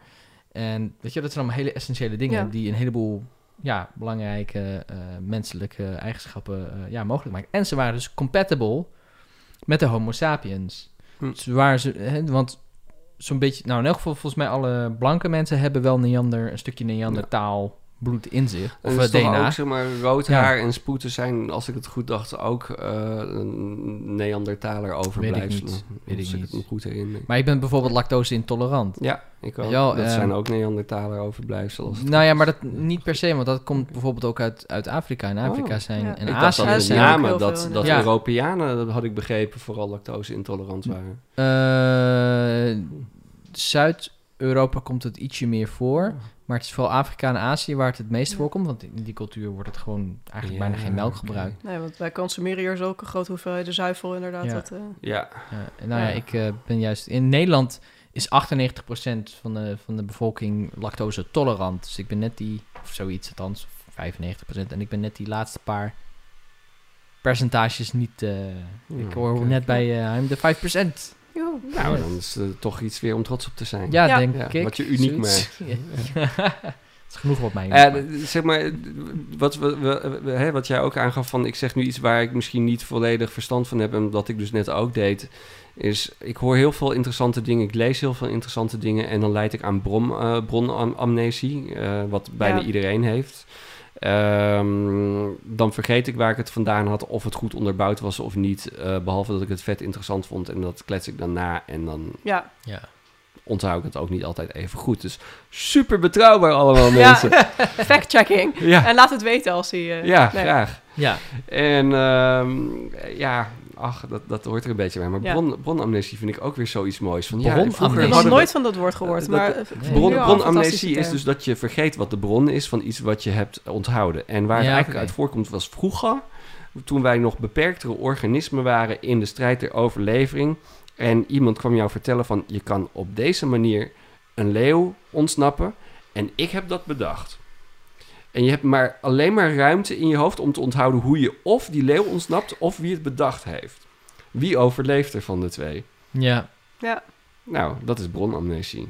Speaker 2: En weet je, dat zijn allemaal hele essentiële dingen
Speaker 3: Ja.
Speaker 2: die een heleboel ja, belangrijke eh, menselijke eigenschappen eh, ja, mogelijk maken. En ze waren dus compatible met de Homo sapiens.
Speaker 1: Hm.
Speaker 2: Ze waren ze, hè, want zo'n beetje, nou in elk geval volgens mij alle blanke mensen hebben wel Neander, een stukje Neandertaal bloed in zich.
Speaker 1: En
Speaker 2: Of
Speaker 1: het
Speaker 2: eh,
Speaker 1: is toch
Speaker 2: DNA.
Speaker 1: ook, zeg maar, rood haar en sproeten zijn, als ik het goed dacht, ook eh, een Neandertaler overblijfselen.
Speaker 2: niet, weet
Speaker 1: als
Speaker 2: ik
Speaker 1: ik
Speaker 2: niet.
Speaker 1: het me goed herinner.
Speaker 2: Maar ik ben bijvoorbeeld lactose intolerant.
Speaker 1: ja, ik ook.
Speaker 2: Ja,
Speaker 1: dat
Speaker 2: ehm,
Speaker 1: zijn ook Neandertaler overblijfselen. als het-
Speaker 2: Nou ja, maar dat niet per se, want dat komt bijvoorbeeld ook uit, uit Afrika. In Afrika
Speaker 1: Oh,
Speaker 2: zijn
Speaker 3: ja.
Speaker 2: en
Speaker 1: ik dacht
Speaker 2: Azië
Speaker 1: dat
Speaker 3: Azië
Speaker 1: met
Speaker 3: zijn
Speaker 2: zijn.
Speaker 3: ook
Speaker 1: name
Speaker 3: heel
Speaker 1: dat,
Speaker 3: veel,
Speaker 1: dat
Speaker 2: ja. Hm,
Speaker 1: Europeanen, dat had ik begrepen, vooral lactose intolerant waren.
Speaker 2: Eh, Zuid-Europa komt het ietsje meer voor. Maar het is vooral Afrika en Azië waar het het meest voorkomt. Want in die cultuur wordt het gewoon eigenlijk
Speaker 1: Ja,
Speaker 2: bijna geen melk
Speaker 1: oké.
Speaker 2: gebruikt.
Speaker 3: Nee, want wij consumeren hier zulke grote hoeveelheden zuivel inderdaad.
Speaker 2: Ja.
Speaker 3: Dat, eh,
Speaker 1: Ja,
Speaker 2: Ja, en nou ja,
Speaker 3: Ja.
Speaker 2: ik eh, ben juist... In Nederland is 98% van de, van de bevolking lactose tolerant. Dus ik ben net die... Of zoiets althans, 95%. En ik ben net die laatste paar percentages niet... eh,
Speaker 1: Ja,
Speaker 2: ik hoor
Speaker 1: kijk.
Speaker 2: net bij eh, I'm the 5%.
Speaker 3: joe.
Speaker 1: nou, dan is het toch iets weer om trots op te zijn.
Speaker 2: Ja,
Speaker 3: Ja.
Speaker 2: denk
Speaker 1: Hmm. Ja,
Speaker 2: ik.
Speaker 1: wat je uniek
Speaker 2: zoiets. Ja. <laughs> Het is genoeg wat mij uniek
Speaker 1: Ja,
Speaker 2: maakt.
Speaker 1: Eh, d- zeg maar, d- wat, we, we- we- hè, wat jij ook aangaf van... ik zeg nu iets waar ik misschien niet volledig verstand van heb... en dat ik dus net ook deed... is ik hoor heel veel interessante dingen... ik lees heel veel interessante dingen... en dan leid ik aan bron, eh, bronamnesie... eh, wat bijna
Speaker 3: Ja.
Speaker 1: iedereen heeft... Ehm, dan vergeet ik waar ik het vandaan had, of het goed onderbouwd was of niet. eh, behalve dat ik het vet interessant vond en dat klets ik dan na. En dan
Speaker 3: Ja,
Speaker 2: Ja.
Speaker 1: onthoud ik het ook niet altijd even goed. Dus super betrouwbaar allemaal
Speaker 3: <laughs>
Speaker 1: mensen.
Speaker 3: Ja, fact-checking.
Speaker 1: Ja,
Speaker 3: En laat het weten als hij... eh,
Speaker 1: ja
Speaker 3: nee.
Speaker 1: graag.
Speaker 2: Ja,
Speaker 1: En ehm, ja, ach, dat, dat hoort er een beetje bij. Maar
Speaker 3: Ja.
Speaker 1: bron, bronamnesie vind ik ook weer zoiets moois. Van, ja,
Speaker 2: Bronamnesie?
Speaker 1: vroeger
Speaker 3: Ik heb
Speaker 1: hadden
Speaker 3: nog
Speaker 1: we-
Speaker 3: nooit van dat woord gehoord,
Speaker 1: Dat-
Speaker 3: maar...
Speaker 1: dat-
Speaker 3: eh, ik vind het
Speaker 1: Bron,
Speaker 3: nu al een
Speaker 1: bronamnesie
Speaker 3: fantastische
Speaker 1: is dus
Speaker 3: term.
Speaker 1: dat je vergeet wat de bron is van iets wat je hebt onthouden. En waar het
Speaker 2: Ja,
Speaker 1: eigenlijk
Speaker 2: oké.
Speaker 1: uit voorkomt was vroeger, toen wij nog beperktere organismen waren in de strijd ter overlevering. En iemand kwam jou vertellen van je kan op deze manier een leeuw ontsnappen. En ik heb dat bedacht. En je hebt maar alleen maar ruimte in je hoofd om te onthouden hoe je of die leeuw ontsnapt of wie het bedacht heeft. Wie overleeft er van de twee?
Speaker 2: ja.
Speaker 1: Nou, dat is bronamnesie.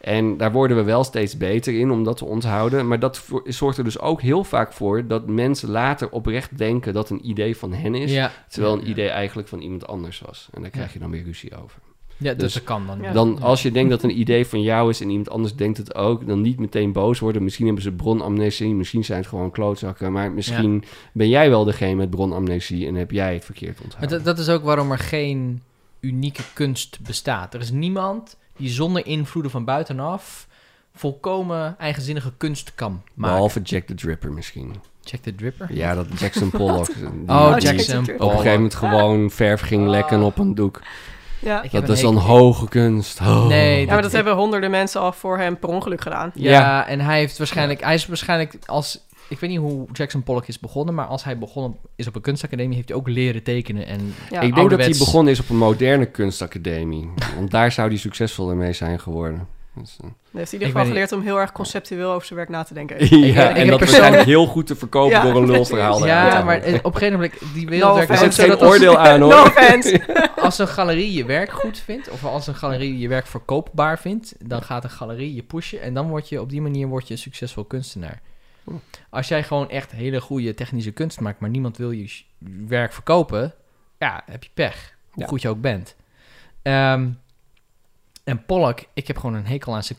Speaker 1: En daar worden we wel steeds beter in om dat te onthouden. Maar dat vo- zorgt er dus ook heel vaak voor dat mensen later oprecht denken dat een idee van hen is.
Speaker 2: ja.
Speaker 1: Terwijl een
Speaker 2: Ja.
Speaker 1: idee eigenlijk van iemand anders was. En daar krijg je dan weer ruzie over.
Speaker 2: Ja, dus,
Speaker 1: Dus-
Speaker 2: dat kan dan.
Speaker 3: Ja.
Speaker 1: Dan
Speaker 2: Ja.
Speaker 1: als je denkt dat een idee van jou is en iemand anders denkt het ook, dan niet meteen boos worden. Misschien hebben ze bronamnesie, misschien zijn het gewoon klootzakken. Maar misschien ben jij wel degene met bronamnesie en heb jij het verkeerd
Speaker 2: Maar
Speaker 1: onthouden.
Speaker 2: dat, dat is ook waarom er geen unieke kunst bestaat. Er is niemand die zonder invloeden van buitenaf volkomen eigenzinnige kunst kan maken.
Speaker 1: Behalve Jack the Dripper misschien.
Speaker 2: Check the dripper.
Speaker 1: Ja, dat Jackson
Speaker 2: <laughs>
Speaker 1: Pollock.
Speaker 2: Oh,
Speaker 1: die-
Speaker 3: Jackson
Speaker 2: Jackson
Speaker 1: op
Speaker 3: Pollock.
Speaker 1: een
Speaker 2: Pollock.
Speaker 1: gegeven moment gewoon verf ging lekken op een doek.
Speaker 3: Ja.
Speaker 2: Ah. Ik heb
Speaker 1: Dat
Speaker 2: een
Speaker 1: is dan
Speaker 2: hekel.
Speaker 1: hoge kunst. Oh.
Speaker 2: Nee,
Speaker 3: ja, maar dat
Speaker 2: Ik-
Speaker 3: hebben honderden mensen al voor hem per ongeluk gedaan.
Speaker 2: Ja,
Speaker 1: Ja.
Speaker 2: en hij heeft waarschijnlijk... Hij is waarschijnlijk als... Ik weet niet hoe Jackson Pollock is begonnen, maar als hij begonnen is op een kunstacademie, heeft hij ook leren tekenen. En
Speaker 3: Ja.
Speaker 1: Ik denk dat hij
Speaker 2: ouderwets.
Speaker 1: begonnen is op een moderne kunstacademie. Want daar zou hij succesvol mee zijn geworden. Dus, eh,
Speaker 3: Dan heeft hij in
Speaker 2: Ik
Speaker 3: ieder geval
Speaker 2: weet
Speaker 3: geleerd om heel erg conceptueel over zijn werk na te
Speaker 2: <laughs>
Speaker 3: denken.
Speaker 2: ik
Speaker 1: ja, en
Speaker 2: heb
Speaker 1: dat
Speaker 2: persoonlijk-
Speaker 1: waarschijnlijk heel goed te verkopen
Speaker 3: Ja,
Speaker 1: door een
Speaker 3: precies.
Speaker 1: lulverhaal.
Speaker 2: <laughs> ja,
Speaker 1: eruit te
Speaker 2: maar
Speaker 1: halen.
Speaker 2: eh, op een gegeven moment, die
Speaker 3: No
Speaker 2: wereld werkt dus
Speaker 1: Er
Speaker 3: offense.
Speaker 2: ook
Speaker 1: zit geen
Speaker 2: zo dat als-
Speaker 1: oordeel
Speaker 2: <laughs>
Speaker 1: aan hoor.
Speaker 3: <laughs> No offense.
Speaker 2: Als een galerie je werk goed vindt, of als een galerie je werk verkoopbaar vindt, dan gaat een galerie je pushen en dan word je op die manier word je een succesvol kunstenaar. Als jij gewoon echt hele goede technische kunst maakt, maar niemand wil je sh- werk verkopen, ja, heb je pech, hoe
Speaker 1: Ja.
Speaker 2: goed je ook bent. Ehm, en Pollock, ik heb gewoon een hekel aan zijn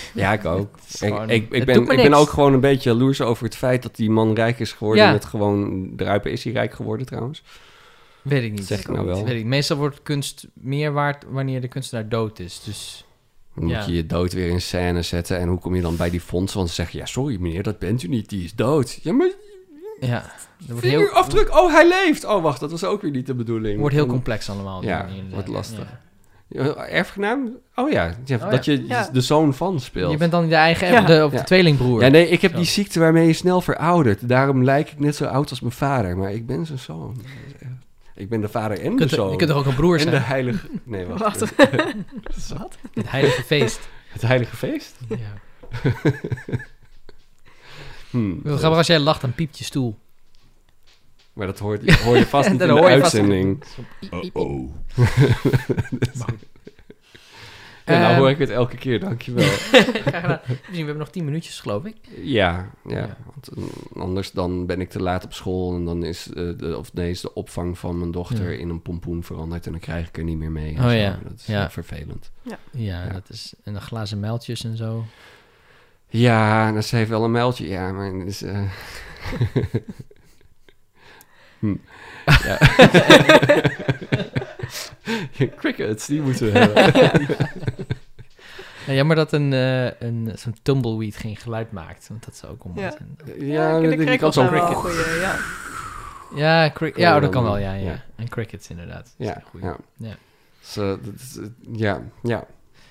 Speaker 1: <laughs> Ja, ik ook.
Speaker 2: <laughs> Het is
Speaker 1: Ik,
Speaker 2: gewoon-
Speaker 1: ik, ik,
Speaker 2: het
Speaker 1: ben,
Speaker 2: doet
Speaker 1: ik
Speaker 2: me
Speaker 1: ben
Speaker 2: niks.
Speaker 1: ook gewoon een beetje jaloers over het feit dat die man rijk is geworden.
Speaker 2: Ja.
Speaker 1: Met gewoon, de Ruiper is hij rijk geworden trouwens.
Speaker 2: Weet ik niet.
Speaker 1: Zeg ik nou wel.
Speaker 2: Weet ik. Meestal wordt kunst meer waard wanneer de kunstenaar dood is. Dus
Speaker 1: Dan moet
Speaker 2: Ja.
Speaker 1: je je dood weer in scène zetten. En hoe kom je dan bij die fonds? Want ze zeggen, ja sorry meneer, dat bent u niet, die is dood. Ja, maar
Speaker 2: ja, dat wordt heel,
Speaker 1: Vingerafdruk, oh hij leeft. Oh wacht, dat was ook weer niet de bedoeling.
Speaker 2: wordt heel complex allemaal. op die
Speaker 1: Ja,
Speaker 2: manier, inderdaad.
Speaker 1: wordt lastig.
Speaker 2: Ja.
Speaker 1: Ja, Erfgenaam? Oh ja, ja,
Speaker 2: Oh
Speaker 1: dat je
Speaker 3: Ja.
Speaker 1: de zoon van speelt.
Speaker 2: Je bent dan de eigen
Speaker 3: Ja.
Speaker 2: de, of de
Speaker 1: Ja.
Speaker 2: tweelingbroer.
Speaker 1: Ja, nee, ik heb
Speaker 2: Zo.
Speaker 1: die ziekte waarmee je snel veroudert. Daarom lijk ik net zo oud als mijn vader, maar ik ben zijn zoon. Ik ben de vader en
Speaker 2: je,
Speaker 1: de
Speaker 2: kunt, er-
Speaker 1: zoon.
Speaker 2: je kunt toch ook een broer
Speaker 1: en de
Speaker 2: zijn?
Speaker 1: heilige... Nee, wacht. <laughs>
Speaker 3: Wacht.
Speaker 2: Het heilige feest.
Speaker 1: Het heilige feest?
Speaker 2: ja.
Speaker 1: Hm.
Speaker 2: Grappig als jij lacht, dan piept je stoel.
Speaker 1: Maar dat hoort, hoor je
Speaker 2: <laughs>
Speaker 1: vast niet
Speaker 2: Dat
Speaker 1: in de
Speaker 2: hoor je vast niet.
Speaker 1: uitzending.
Speaker 4: Oh.
Speaker 1: <laughs> Ja, nou
Speaker 2: Ehm.
Speaker 1: hoor ik het elke keer,
Speaker 2: <laughs>
Speaker 1: dankjewel.
Speaker 2: Graag gedaan. Misschien, we hebben nog tien minuutjes, geloof ik.
Speaker 1: Ja, ja.
Speaker 2: Ja.
Speaker 1: Want eh, anders dan ben ik te laat op school en dan is, eh, de, of nee, is de opvang van mijn dochter
Speaker 2: Ja.
Speaker 1: in een pompoen veranderd en dan krijg ik er niet meer mee. en
Speaker 2: Oh
Speaker 1: zo.
Speaker 2: ja,
Speaker 1: Dat is
Speaker 2: ja.
Speaker 1: eh, vervelend.
Speaker 2: Ja,
Speaker 1: Ja.
Speaker 2: dat is... En de glazen mijltjes en
Speaker 1: <laughs>
Speaker 2: zo.
Speaker 1: Ja, nou, ze heeft wel een meldje. Ja, maar het is... eh, <laughs> hm.
Speaker 2: <laughs>
Speaker 1: Ja. Crickets, die moeten we hebben.
Speaker 2: Ja, jammer dat een, eh, een, zo'n tumbleweed geen geluid maakt. Want dat zou ook om.
Speaker 3: Ja.
Speaker 2: Ja,
Speaker 1: Ja,
Speaker 3: ik
Speaker 1: dat
Speaker 3: vind de
Speaker 1: ik al
Speaker 3: krekels
Speaker 1: zo'n
Speaker 3: zijn wel een
Speaker 1: cricket.
Speaker 3: goeie, ja.
Speaker 2: ja, cri-
Speaker 1: Kan
Speaker 2: ja
Speaker 1: je
Speaker 2: oh, dat
Speaker 1: dan
Speaker 2: kan wel,
Speaker 1: doen.
Speaker 2: ja, ja.
Speaker 1: Ja.
Speaker 2: En crickets inderdaad. Dat is
Speaker 1: Ja,
Speaker 2: een goeie.
Speaker 1: ja.
Speaker 2: Ja.
Speaker 1: Dus, eh, dat is, eh, ja, ja.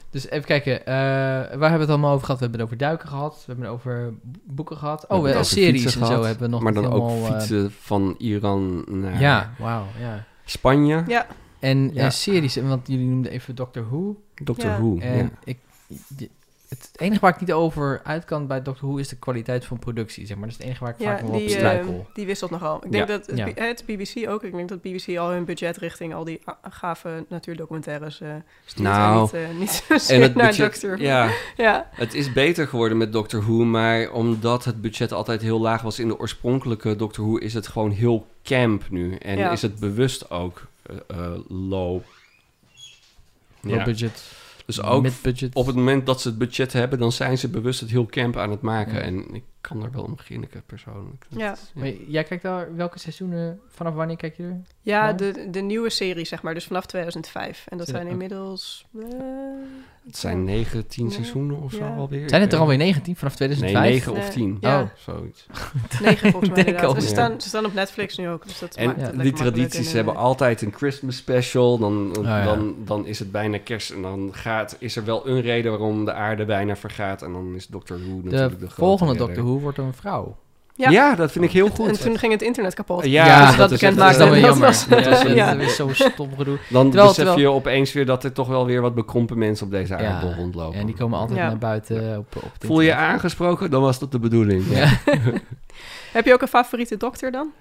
Speaker 2: Dus even kijken, eh, waar hebben we het allemaal over gehad? We hebben het over duiken gehad, we hebben het over boeken gehad.
Speaker 1: We
Speaker 2: Oh,
Speaker 1: hebben
Speaker 2: we
Speaker 1: het over
Speaker 2: series
Speaker 1: fietsen
Speaker 2: en zo
Speaker 1: gehad,
Speaker 2: hebben we nog
Speaker 1: maar
Speaker 2: niet
Speaker 1: dan ook
Speaker 2: helemaal, eh,
Speaker 1: fietsen van Iran naar
Speaker 2: Ja, wauw, ja.
Speaker 1: Spanje.
Speaker 3: Ja,
Speaker 2: En eh,
Speaker 1: Ja.
Speaker 2: series, en want jullie noemden even Doctor Who.
Speaker 1: Doctor
Speaker 3: Ja.
Speaker 1: Who.
Speaker 2: En
Speaker 1: ja.
Speaker 2: ik, je- het enige waar ik niet over uit kan bij Doctor Who is de kwaliteit van productie, zeg maar. Dat is het enige waar ik
Speaker 3: ja
Speaker 2: vaak wel op
Speaker 3: die,
Speaker 2: struikel.
Speaker 3: eh, die wisselt nogal. Ik denk
Speaker 1: Ja.
Speaker 3: dat het,
Speaker 2: Ja.
Speaker 3: B- het BBC ook, ik denk dat BBC al hun budget richting al die a- gave natuurdocumentaires eh stuurt.
Speaker 1: Nou,
Speaker 3: en niet, eh, niet <laughs> zozeer naar Doctor Who.
Speaker 1: Ja,
Speaker 3: ja.
Speaker 1: het is beter geworden met Doctor Who, maar omdat het budget altijd heel laag was in de oorspronkelijke Doctor Who, is het gewoon heel camp nu. En
Speaker 3: Ja.
Speaker 1: is het bewust ook eh, eh, low.
Speaker 2: Low
Speaker 1: Ja.
Speaker 2: budget,
Speaker 1: Dus ook
Speaker 2: mid budget.
Speaker 1: op het moment dat ze het budget hebben, dan zijn ze bewust het heel camp aan het maken.
Speaker 2: Ja.
Speaker 1: En ik kan er wel om grinniken persoonlijk. Dat
Speaker 3: Ja.
Speaker 1: is-
Speaker 2: Maar j- jij kijkt daar welke seizoenen, vanaf wanneer kijk je er?
Speaker 3: Ja,
Speaker 2: Maar-
Speaker 3: de, de nieuwe serie, zeg maar. Dus vanaf 2005. En dat
Speaker 2: Zijn-
Speaker 3: zijn inmiddels...
Speaker 1: <laughs>
Speaker 3: eh,
Speaker 1: Het zijn 19
Speaker 3: Ja.
Speaker 1: seizoenen of zo
Speaker 3: Ja.
Speaker 1: alweer.
Speaker 2: Zijn het
Speaker 1: Ik
Speaker 2: er
Speaker 1: weet
Speaker 2: alweer 19 vanf
Speaker 1: Nee,
Speaker 2: 2005?
Speaker 1: 9 of
Speaker 3: Nee.
Speaker 1: 10.
Speaker 3: Ja.
Speaker 1: Oh, zoiets.
Speaker 3: negen volgens mij
Speaker 2: Denk
Speaker 3: inderdaad.
Speaker 2: ook,
Speaker 3: En ze,
Speaker 1: ja.
Speaker 3: staan, ze staan op Netflix nu ook. Dus dat
Speaker 1: En
Speaker 3: maakt het
Speaker 1: die
Speaker 3: lekker
Speaker 1: tradities
Speaker 3: makkelijk.
Speaker 1: hebben
Speaker 3: En, eh,
Speaker 1: altijd een Christmas special. Dan, dan,
Speaker 2: Ah, ja.
Speaker 1: dan, is het bijna kerst. En dan gaat, is er wel een reden waarom de aarde bijna vergaat. En dan is Doctor Who natuurlijk
Speaker 2: De
Speaker 1: de, grote
Speaker 2: volgende
Speaker 1: redder.
Speaker 2: Doctor Who wordt een vrouw.
Speaker 1: Ja.
Speaker 3: Ja.
Speaker 1: dat vind ik heel
Speaker 3: eh, En
Speaker 1: goed.
Speaker 3: toen ging het internet kapot.
Speaker 1: Ja,
Speaker 3: Dus
Speaker 1: dat
Speaker 3: dat,
Speaker 1: is
Speaker 3: bekend
Speaker 1: echt-
Speaker 2: Dat
Speaker 3: maakte.
Speaker 2: is dan weer
Speaker 1: dat
Speaker 2: jammer.
Speaker 3: was-
Speaker 1: dat was-
Speaker 2: Ja,
Speaker 1: ja.
Speaker 2: Dat is zo stom gedoe.
Speaker 1: Dan
Speaker 2: Terwijl-
Speaker 1: besef
Speaker 2: terwijl-
Speaker 1: je opeens weer dat er toch wel weer wat bekrompen mensen op deze aarde
Speaker 2: Ja,
Speaker 1: rondlopen.
Speaker 2: En die komen altijd
Speaker 3: Ja.
Speaker 2: naar buiten eh, op, op het
Speaker 1: Voel je je
Speaker 2: internet.
Speaker 1: aangesproken? Dan was dat de bedoeling.
Speaker 2: Ja.
Speaker 3: Heb je ook een favoriete dokter dan?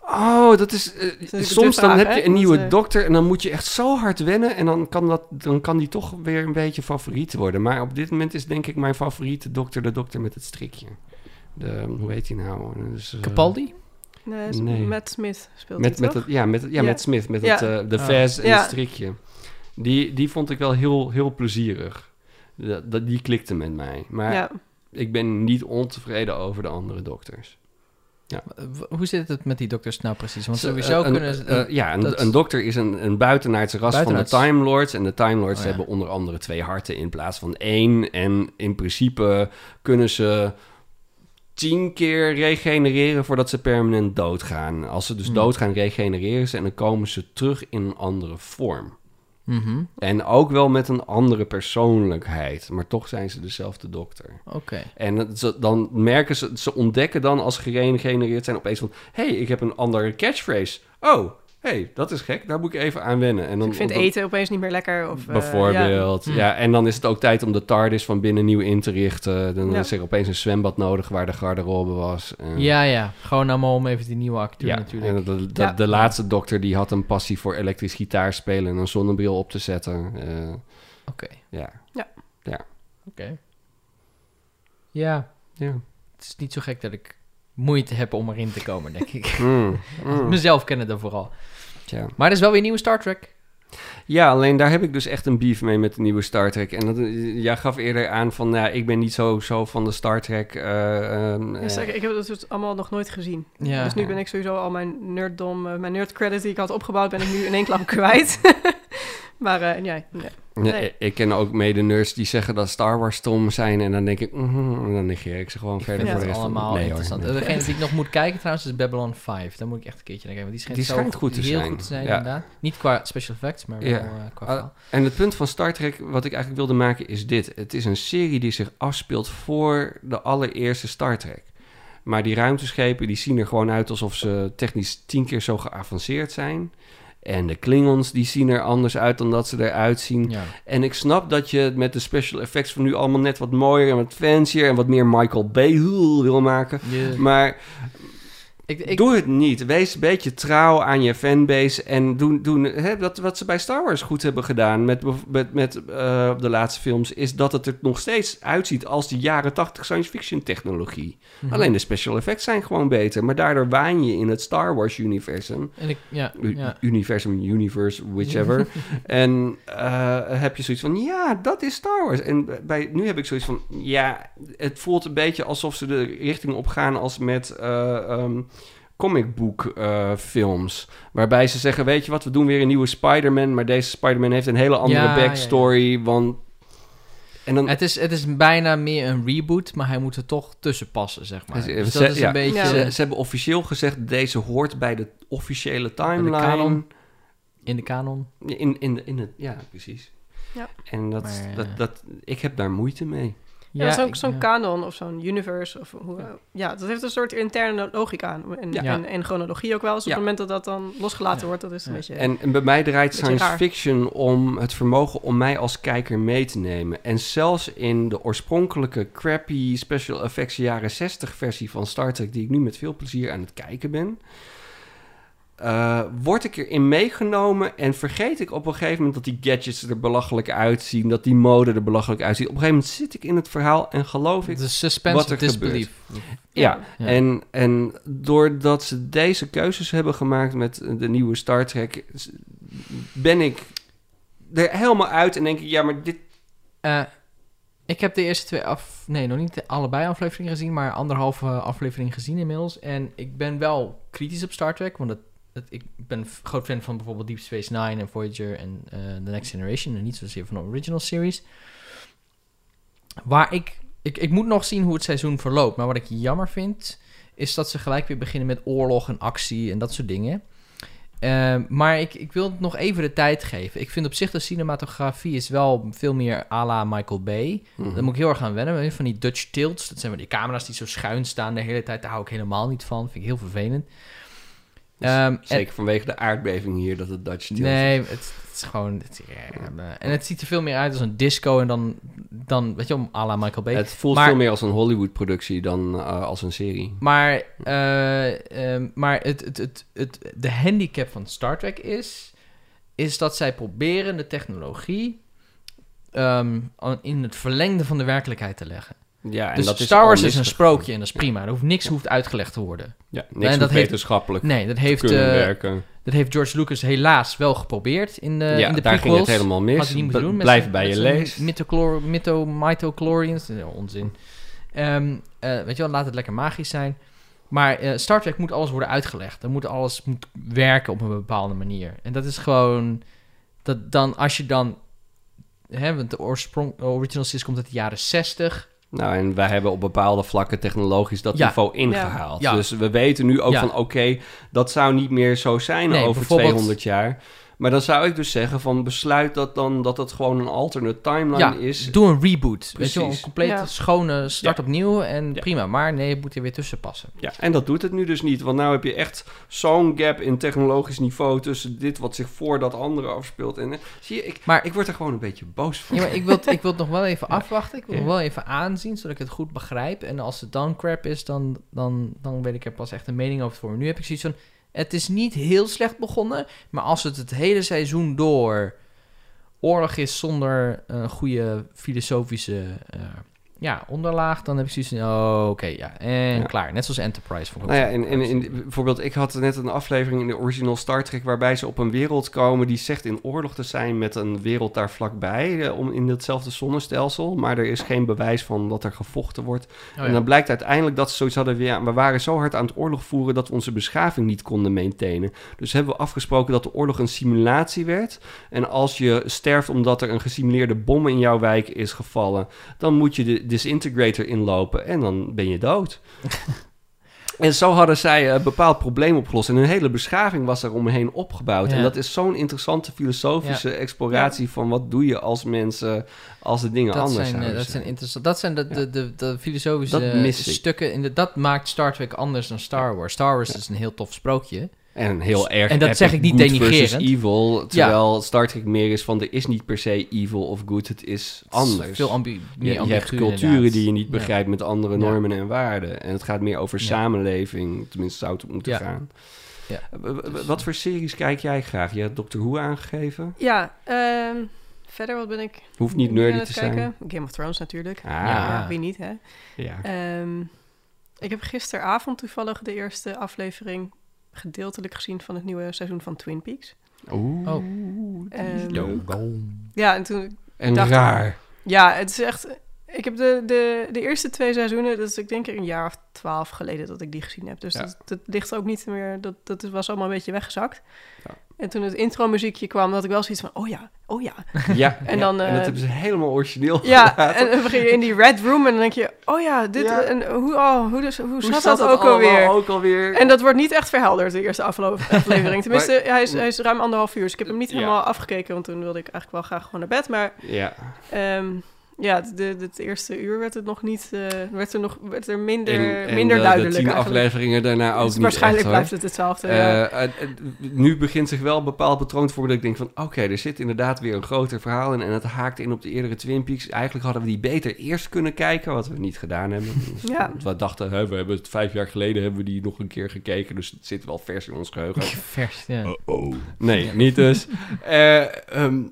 Speaker 1: Oh, dat is. eh,
Speaker 3: natuurlijk
Speaker 1: soms
Speaker 3: de
Speaker 1: dan
Speaker 3: vraag,
Speaker 1: heb
Speaker 3: hè?
Speaker 1: je een
Speaker 3: Dat,
Speaker 1: nieuwe
Speaker 3: eh,
Speaker 1: dokter en dan moet je echt zo hard wennen. En dan kan, dat, dan kan die toch weer een beetje favoriet worden. Maar op dit moment is denk ik mijn favoriete dokter de dokter met het strikje. De, ehm, hoe heet die nou? Dus, eh,
Speaker 2: Capaldi?
Speaker 3: Nee, is-
Speaker 1: Nee.
Speaker 3: Eh, Matt Smith speelt
Speaker 1: Met,
Speaker 3: hij,
Speaker 1: met
Speaker 3: toch?
Speaker 1: het, ja, met, het- ja,
Speaker 3: Ja.
Speaker 1: met Smith. Met
Speaker 3: Ja. Oh.
Speaker 1: het, eh, de
Speaker 2: Ah.
Speaker 1: vest en
Speaker 3: Ja.
Speaker 1: het strikje. Die, die vond ik wel heel, heel plezierig. Dat, dat- die klikte met mij. Maar
Speaker 3: Ja.
Speaker 1: ik ben niet ontevreden over de andere dokters.
Speaker 2: W- Hoe zit het met die dokters nou precies? Want
Speaker 1: Ze-
Speaker 2: sowieso
Speaker 1: een-
Speaker 2: kunnen ze...
Speaker 1: eh, eh, ja, een,
Speaker 2: dat-
Speaker 1: een dokter is een, een buitenaardse ras
Speaker 2: Buitenaards.
Speaker 1: van de Time Lords. En de Time Lords
Speaker 2: Oh, ja.
Speaker 1: hebben onder andere twee harten in plaats van één. En in principe kunnen ze tien keer regenereren voordat ze permanent doodgaan. Als ze dus
Speaker 2: Hmm.
Speaker 1: doodgaan, regenereren ze en dan komen ze terug in een andere vorm.
Speaker 2: mhm,
Speaker 1: En ook wel met een andere persoonlijkheid, maar toch zijn ze dezelfde dokter.
Speaker 2: Oké.
Speaker 1: En dat ze- dan merken ze, ze ontdekken dan als ze geregenereerd zijn opeens van... hé, hey, ik heb een andere catchphrase. Oh, hé, hey, dat is gek, daar moet ik even aan wennen. En dan,
Speaker 3: ik vind
Speaker 1: dan-
Speaker 3: eten opeens niet meer lekker. Of, eh, ja.
Speaker 1: Bijvoorbeeld,
Speaker 2: ja.
Speaker 1: ja.
Speaker 2: Hm.
Speaker 1: En dan is het ook tijd om de TARDIS van binnen nieuw in te richten. Dan
Speaker 3: Ja.
Speaker 1: is er opeens een zwembad nodig waar de garderobe was. En-
Speaker 2: Ja, ja. Gewoon allemaal om even die nieuwe acteur
Speaker 1: ja,
Speaker 2: natuurlijk.
Speaker 1: en de, de,
Speaker 3: Ja.
Speaker 1: de laatste dokter die had een passie voor elektrisch gitaar spelen... en een zonnebril op te zetten. Eh,
Speaker 2: Oké.
Speaker 1: ja,
Speaker 2: Oké. Ja,
Speaker 3: <laughs>
Speaker 1: ja.
Speaker 2: het is niet zo gek dat ik moeite heb om erin te komen, denk ik.
Speaker 1: Mm, mm.
Speaker 2: <laughs> Mezelf kennen dan vooral.
Speaker 1: Tja.
Speaker 2: Maar er is wel weer een nieuwe Star Trek.
Speaker 1: Ja, alleen daar heb ik dus echt een beef mee met de nieuwe Star Trek. En dat, jij gaf eerder aan van, nou, ik ben niet zo, zo van de Star Trek. eh, ehm,
Speaker 3: Dus
Speaker 1: eh,
Speaker 3: ik, ik heb dat soort allemaal nog nooit gezien.
Speaker 2: Ja.
Speaker 3: dus nu ben ik sowieso al mijn nerddom, eh, mijn nerdcredit die ik had opgebouwd, ben ik nu in één klap <laughs> kwijt. maar eh ja, nee.
Speaker 1: nee,
Speaker 3: nee.
Speaker 1: Ik ken ook mede-nerds die zeggen dat Star Wars stom zijn. En dan denk ik, mhm, en dan negeer ik ze gewoon
Speaker 2: Ik
Speaker 1: verder
Speaker 2: vind
Speaker 1: voor de
Speaker 2: het
Speaker 1: rest van-
Speaker 2: allemaal
Speaker 1: Nee hoor,
Speaker 2: interessant.
Speaker 1: nee.
Speaker 2: Degene die ik nog moet kijken trouwens is Babylon 5. Daar moet ik echt een keertje naar kijken. Want die schijnt,
Speaker 1: Die
Speaker 2: zo
Speaker 1: schijnt goed te
Speaker 2: heel
Speaker 1: zijn.
Speaker 2: goed te zijn,
Speaker 1: Ja.
Speaker 2: inderdaad. Niet qua special effects, maar wel
Speaker 1: Ja.
Speaker 2: eh, qua
Speaker 1: Ah,
Speaker 2: verhaal.
Speaker 1: En het punt van Star Trek, wat ik eigenlijk wilde maken, is dit. Het is een serie die zich afspeelt voor de allereerste Star Trek. Maar die ruimteschepen, die zien er gewoon uit alsof ze technisch tien keer zo geavanceerd zijn. En de Klingons, die zien er anders uit dan dat ze eruit zien.
Speaker 2: Ja.
Speaker 1: En ik snap dat je het met de special effects van nu allemaal net wat mooier en wat fancier... en wat meer Michael Bay wil maken.
Speaker 2: Je-
Speaker 1: Maar
Speaker 2: ik, ik,
Speaker 1: Doe het niet. Wees een beetje trouw aan je fanbase. En doen, doen hè, dat, wat ze bij Star Wars goed hebben gedaan met, bev- met, met eh, de laatste films... is dat het er nog steeds uitziet als die jaren 80 science fiction technologie.
Speaker 2: Mhm.
Speaker 1: Alleen de special effects zijn gewoon beter. Maar daardoor waan je in het Star Wars universum.
Speaker 2: En ik, ja,
Speaker 1: U-
Speaker 2: ja.
Speaker 1: Universum, universe,
Speaker 2: <laughs>
Speaker 1: whichever. en eh, heb je zoiets van, ja, dat is Star Wars. En bij, nu heb ik zoiets van, ja, het voelt een beetje alsof ze de richting op gaan als met eh ehm comic book eh, films. Waarbij ze zeggen, weet je wat, we doen weer een nieuwe Spider-Man, maar deze Spider-Man heeft een hele andere
Speaker 2: Ja, ja, ja.
Speaker 1: backstory, want... En dan,
Speaker 2: Het is, het is bijna meer een reboot, maar hij moet er toch tussen passen, zeg maar.
Speaker 1: Ze-
Speaker 2: Dus
Speaker 1: ze-
Speaker 2: dat is
Speaker 1: ja.
Speaker 2: een beetje...
Speaker 3: Ja.
Speaker 1: ze, ze hebben officieel gezegd, deze hoort bij de officiële timeline.
Speaker 2: kanon. In de kanon.
Speaker 1: In, in, de- in het, ja, precies.
Speaker 3: Ja.
Speaker 1: En dat,
Speaker 2: Maar, eh,
Speaker 1: dat, dat, ik heb daar moeite mee.
Speaker 3: Ja, zo'n
Speaker 2: ik-
Speaker 3: zo'n
Speaker 2: ja.
Speaker 3: kanon of zo'n universe. Of hoe, eh, ja. dat heeft een soort interne logica aan. En,
Speaker 1: Ja.
Speaker 3: en, en chronologie ook wel. Dus op
Speaker 1: Ja.
Speaker 3: het moment dat dat dan losgelaten
Speaker 2: Ja.
Speaker 3: wordt, dat is een
Speaker 2: Ja.
Speaker 3: beetje...
Speaker 1: En, en bij mij draait
Speaker 3: Beetje
Speaker 1: science
Speaker 3: raar.
Speaker 1: fiction om het vermogen om mij als kijker mee te nemen. En zelfs in de oorspronkelijke crappy special effects jaren 60 versie van Star Trek, die ik nu met veel plezier aan het kijken ben, eh, word ik erin meegenomen en vergeet ik op een gegeven moment dat die gadgets er belachelijk uitzien, dat die mode er belachelijk uitziet. Op een gegeven moment zit ik in het verhaal en geloof ik
Speaker 2: De suspense
Speaker 1: wat er
Speaker 2: of disbelief.
Speaker 1: Ja,
Speaker 2: Ja.
Speaker 1: En, en doordat ze deze keuzes hebben gemaakt met de nieuwe Star Trek, s- ben ik er helemaal uit en denk ik, ja, maar dit,
Speaker 2: Eh, Ik heb de eerste twee af... Nee, nog niet de allebei afleveringen gezien, maar anderhalve aflevering gezien inmiddels. En ik ben wel kritisch op Star Trek, want het, het- ik ben een f- groot fan van bijvoorbeeld Deep Space Nine en Voyager en eh, The Next Generation. En niet zozeer van de original series. Waar ik, ik... Ik moet nog zien hoe het seizoen verloopt. Maar wat ik jammer vind, is dat ze gelijk weer beginnen met oorlog en actie en dat soort dingen. Eh, maar ik, ik wil het nog even de tijd geven. Ik vind op zich de cinematografie is wel veel meer à la Michael Bay.
Speaker 1: Mhm.
Speaker 2: Daar moet ik heel erg aan wennen. weet je, Van die Dutch tilts. Dat zijn van die camera's die zo schuin staan de hele tijd. Daar hou ik helemaal niet van. Vind ik heel vervelend. Ehm, en-
Speaker 1: Zeker vanwege de aardbeving hier dat het Dutch Tilt
Speaker 2: Nee, het, het is gewoon... het- ja, en het ziet er veel meer uit als een disco. En dan, dan weet je, om à la Michael Bay.
Speaker 1: Het voelt
Speaker 2: Maar-
Speaker 1: veel meer als een Hollywood-productie dan eh, als een serie.
Speaker 2: Maar, eh, ehm, maar het, het, het, het, de handicap van Star Trek is, is dat zij proberen de technologie ehm, aan- in het verlengde van de werkelijkheid te leggen.
Speaker 1: Ja, en
Speaker 2: dus
Speaker 1: dat
Speaker 2: Star
Speaker 1: al
Speaker 2: Wars is een
Speaker 1: misgegaan.
Speaker 2: sprookje en dat is prima. Er hoeft niks hoeft uitgelegd te worden.
Speaker 1: Ja, niks met
Speaker 2: dat heeft-
Speaker 1: wetenschappelijk
Speaker 2: Nee, dat heeft,
Speaker 1: kunnen
Speaker 2: eh,
Speaker 1: werken.
Speaker 2: dat heeft George Lucas helaas wel geprobeerd in de,
Speaker 1: ja,
Speaker 2: eh, in de
Speaker 1: daar ging
Speaker 2: prequels.
Speaker 1: het helemaal
Speaker 2: Had
Speaker 1: mis.
Speaker 2: hij niet moeten
Speaker 1: B-
Speaker 2: doen. met
Speaker 1: Blijf
Speaker 2: zijn-
Speaker 1: bij
Speaker 2: met
Speaker 1: je
Speaker 2: zijn
Speaker 1: lees.
Speaker 2: mythochlor- mytho- Mitochondrions. Eh, onzin. Ehm, eh, weet je wel, laat het lekker magisch zijn. Maar eh, Star Trek moet alles worden uitgelegd. Dan moet alles moet werken op een bepaalde manier. En dat is gewoon... Dat dan, als je dan... Hè, want de oorsprong, original series komt uit de jaren 60.
Speaker 1: Nou, en wij hebben op bepaalde vlakken technologisch dat
Speaker 2: Ja.
Speaker 1: niveau ingehaald.
Speaker 2: Ja. Ja.
Speaker 1: Dus we weten nu ook
Speaker 2: Ja.
Speaker 1: van, oké, dat zou niet meer zo zijn
Speaker 2: Nee,
Speaker 1: over
Speaker 2: bijvoorbeeld-
Speaker 1: 200 jaar. Maar dan zou ik dus zeggen van, besluit dat dan dat het gewoon een alternate timeline
Speaker 2: ja,
Speaker 1: is.
Speaker 2: doe een reboot. Weet je wel, een
Speaker 1: Precies.
Speaker 2: complete
Speaker 3: Ja.
Speaker 2: schone start opnieuw. En
Speaker 1: Ja.
Speaker 2: prima, maar nee, het moet er weer tussen passen.
Speaker 1: Ja, en dat doet het nu dus niet. Want nu heb je echt zo'n gap in technologisch niveau tussen dit wat zich voor dat andere afspeelt. En eh, zie je, ik,
Speaker 2: Maar-
Speaker 1: ik word er gewoon een beetje boos van.
Speaker 2: Ja, maar ik wil, het- ik wil het nog wel even afwachten. Ik wil het
Speaker 1: Ja.
Speaker 2: nog wel even aanzien, zodat ik het goed begrijp. En als het dan crap is, dan, dan, dan weet ik er pas echt een mening over voor. Nu heb ik zoiets van, het is niet heel slecht begonnen. Maar als het het hele seizoen door oorlog is zonder een goede filosofische eh, ja, onderlaag... dan heb ik zoiets van, oh, oké, ja, en
Speaker 1: Ja.
Speaker 2: klaar. Net zoals Enterprise. Vond ik ook
Speaker 1: Nou ja,
Speaker 2: zo.
Speaker 1: en, en, in, bijvoorbeeld, ik had net een aflevering in de original Star Trek... waarbij ze op een wereld komen die zegt in oorlog te zijn... met een wereld daar vlakbij, eh, om, in hetzelfde zonnestelsel. Maar er is geen bewijs van dat er gevochten wordt.
Speaker 2: Oh ja.
Speaker 1: En dan blijkt uiteindelijk dat ze zoiets hadden... weer we waren zo hard aan het oorlog voeren... dat we onze beschaving niet konden maintainen. Dus hebben we afgesproken dat de oorlog een simulatie werd. En als je sterft omdat er een gesimuleerde bom in jouw wijk is gevallen... dan moet je de disintegrator inlopen en dan ben je
Speaker 2: <laughs>
Speaker 1: dood. En zo hadden zij eh, een bepaald probleem opgelost. En hun hele beschaving was er omheen opgebouwd.
Speaker 2: Ja.
Speaker 1: En dat is zo'n interessante filosofische exploratie van wat doe je als mensen, als de dingen
Speaker 2: dat
Speaker 1: anders
Speaker 2: zijn, eh,
Speaker 1: zouden
Speaker 2: dat
Speaker 1: zijn.
Speaker 2: zijn interessant. Dat zijn de, de, de, de filosofische
Speaker 1: Dat mis ik.
Speaker 2: stukken. In de, dat maakt Star Trek anders dan Star Wars. Star Wars is een heel tof sprookje.
Speaker 1: En een heel erg
Speaker 2: En dat
Speaker 1: epic
Speaker 2: zeg ik niet
Speaker 1: good versus
Speaker 2: denigrerend.
Speaker 1: evil, terwijl Star Trek meer is van er is niet per se evil of good, het is anders.
Speaker 2: Het is Veel ambi
Speaker 1: je,
Speaker 2: meer
Speaker 1: je
Speaker 2: ambigu
Speaker 1: hebt culturen
Speaker 2: inderdaad.
Speaker 1: die je niet
Speaker 2: Ja.
Speaker 1: begrijpt met andere
Speaker 2: Ja.
Speaker 1: normen en waarden. En het gaat meer over
Speaker 2: Ja.
Speaker 1: samenleving, tenminste zou het moeten
Speaker 2: Ja.
Speaker 1: gaan.
Speaker 2: Ja.
Speaker 1: W- w- Wat voor series kijk jij graag? Je hebt Doctor Who aangegeven?
Speaker 3: Ja, ehm, verder wat ben ik
Speaker 1: Hoeft niet
Speaker 3: nu aan
Speaker 1: nerdy
Speaker 3: het
Speaker 1: te
Speaker 3: kijken?
Speaker 1: zijn.
Speaker 3: Game of Thrones natuurlijk.
Speaker 1: Ah,
Speaker 2: Ja.
Speaker 1: ja.
Speaker 3: Ja, wie niet, hè? Ehm, ik heb gisteravond toevallig de eerste aflevering gedeeltelijk gezien van het nieuwe seizoen van Twin Peaks.
Speaker 1: Oeh.
Speaker 2: Oh.
Speaker 3: Ehm,
Speaker 1: Yo.
Speaker 3: ja, en toen...
Speaker 1: En
Speaker 3: Dacht-
Speaker 1: raar.
Speaker 3: Ja, het is echt... Ik heb de, de, de eerste twee seizoenen, dat is ik denk een jaar of twaalf geleden dat ik die gezien heb. Dus
Speaker 1: Ja.
Speaker 3: dat, dat ligt ook niet meer... Dat, dat was allemaal een beetje weggezakt.
Speaker 1: Ja.
Speaker 3: En toen het intro-muziekje kwam, had ik wel zoiets van... Oh ja,
Speaker 1: <laughs>
Speaker 3: oh ja,
Speaker 2: <laughs>
Speaker 1: Ja,
Speaker 3: En dan,
Speaker 1: en
Speaker 3: eh,
Speaker 1: dat hebben ze helemaal origineel
Speaker 3: Ja,
Speaker 1: gelaten.
Speaker 2: eh,
Speaker 3: en dan begin je in die red room en dan denk je, oh ja, dit,
Speaker 1: Ja.
Speaker 3: En hoe, oh, hoe, dus, hoe,
Speaker 1: Hoe
Speaker 3: zat
Speaker 1: zat
Speaker 3: dat ook
Speaker 1: allemaal
Speaker 3: alweer?
Speaker 1: Ook alweer?
Speaker 3: En dat wordt niet echt verhelderd, de eerste aflo-
Speaker 1: <laughs>
Speaker 3: aflevering. Tenminste, hij, is, hij is ruim anderhalf uur, dus ik heb hem niet
Speaker 1: Ja.
Speaker 3: helemaal afgekeken, want toen wilde ik eigenlijk wel graag gewoon naar bed. Maar
Speaker 1: ja.
Speaker 3: ehm, ja, het- de, het eerste uur werd het nog niet, eh, werd er nog werd er minder,
Speaker 1: En- en
Speaker 3: minder
Speaker 1: de,
Speaker 3: duidelijk
Speaker 1: De tien
Speaker 3: eigenlijk.
Speaker 1: afleveringen daarna ook
Speaker 3: Dus
Speaker 1: niet
Speaker 3: waarschijnlijk
Speaker 1: echt, hoor.
Speaker 3: blijft het hetzelfde. ja.
Speaker 1: Eh, eh, eh, nu begint zich wel een bepaald patroon te vormen dat ik denk van... oké, er zit inderdaad weer een groter verhaal in... en het haakt in op de eerdere Twin Peaks. Eigenlijk hadden we die beter eerst kunnen kijken, wat we niet gedaan
Speaker 3: <laughs>
Speaker 1: hebben. Dus
Speaker 3: Ja.
Speaker 1: We dachten, hè, we hebben het vijf jaar geleden hebben we die nog een keer gekeken... dus het zit wel vers in ons geheugen.
Speaker 2: <laughs> Vers, ja.
Speaker 1: Oh. Nee, niet
Speaker 3: <laughs>
Speaker 1: dus. Eh, ehm,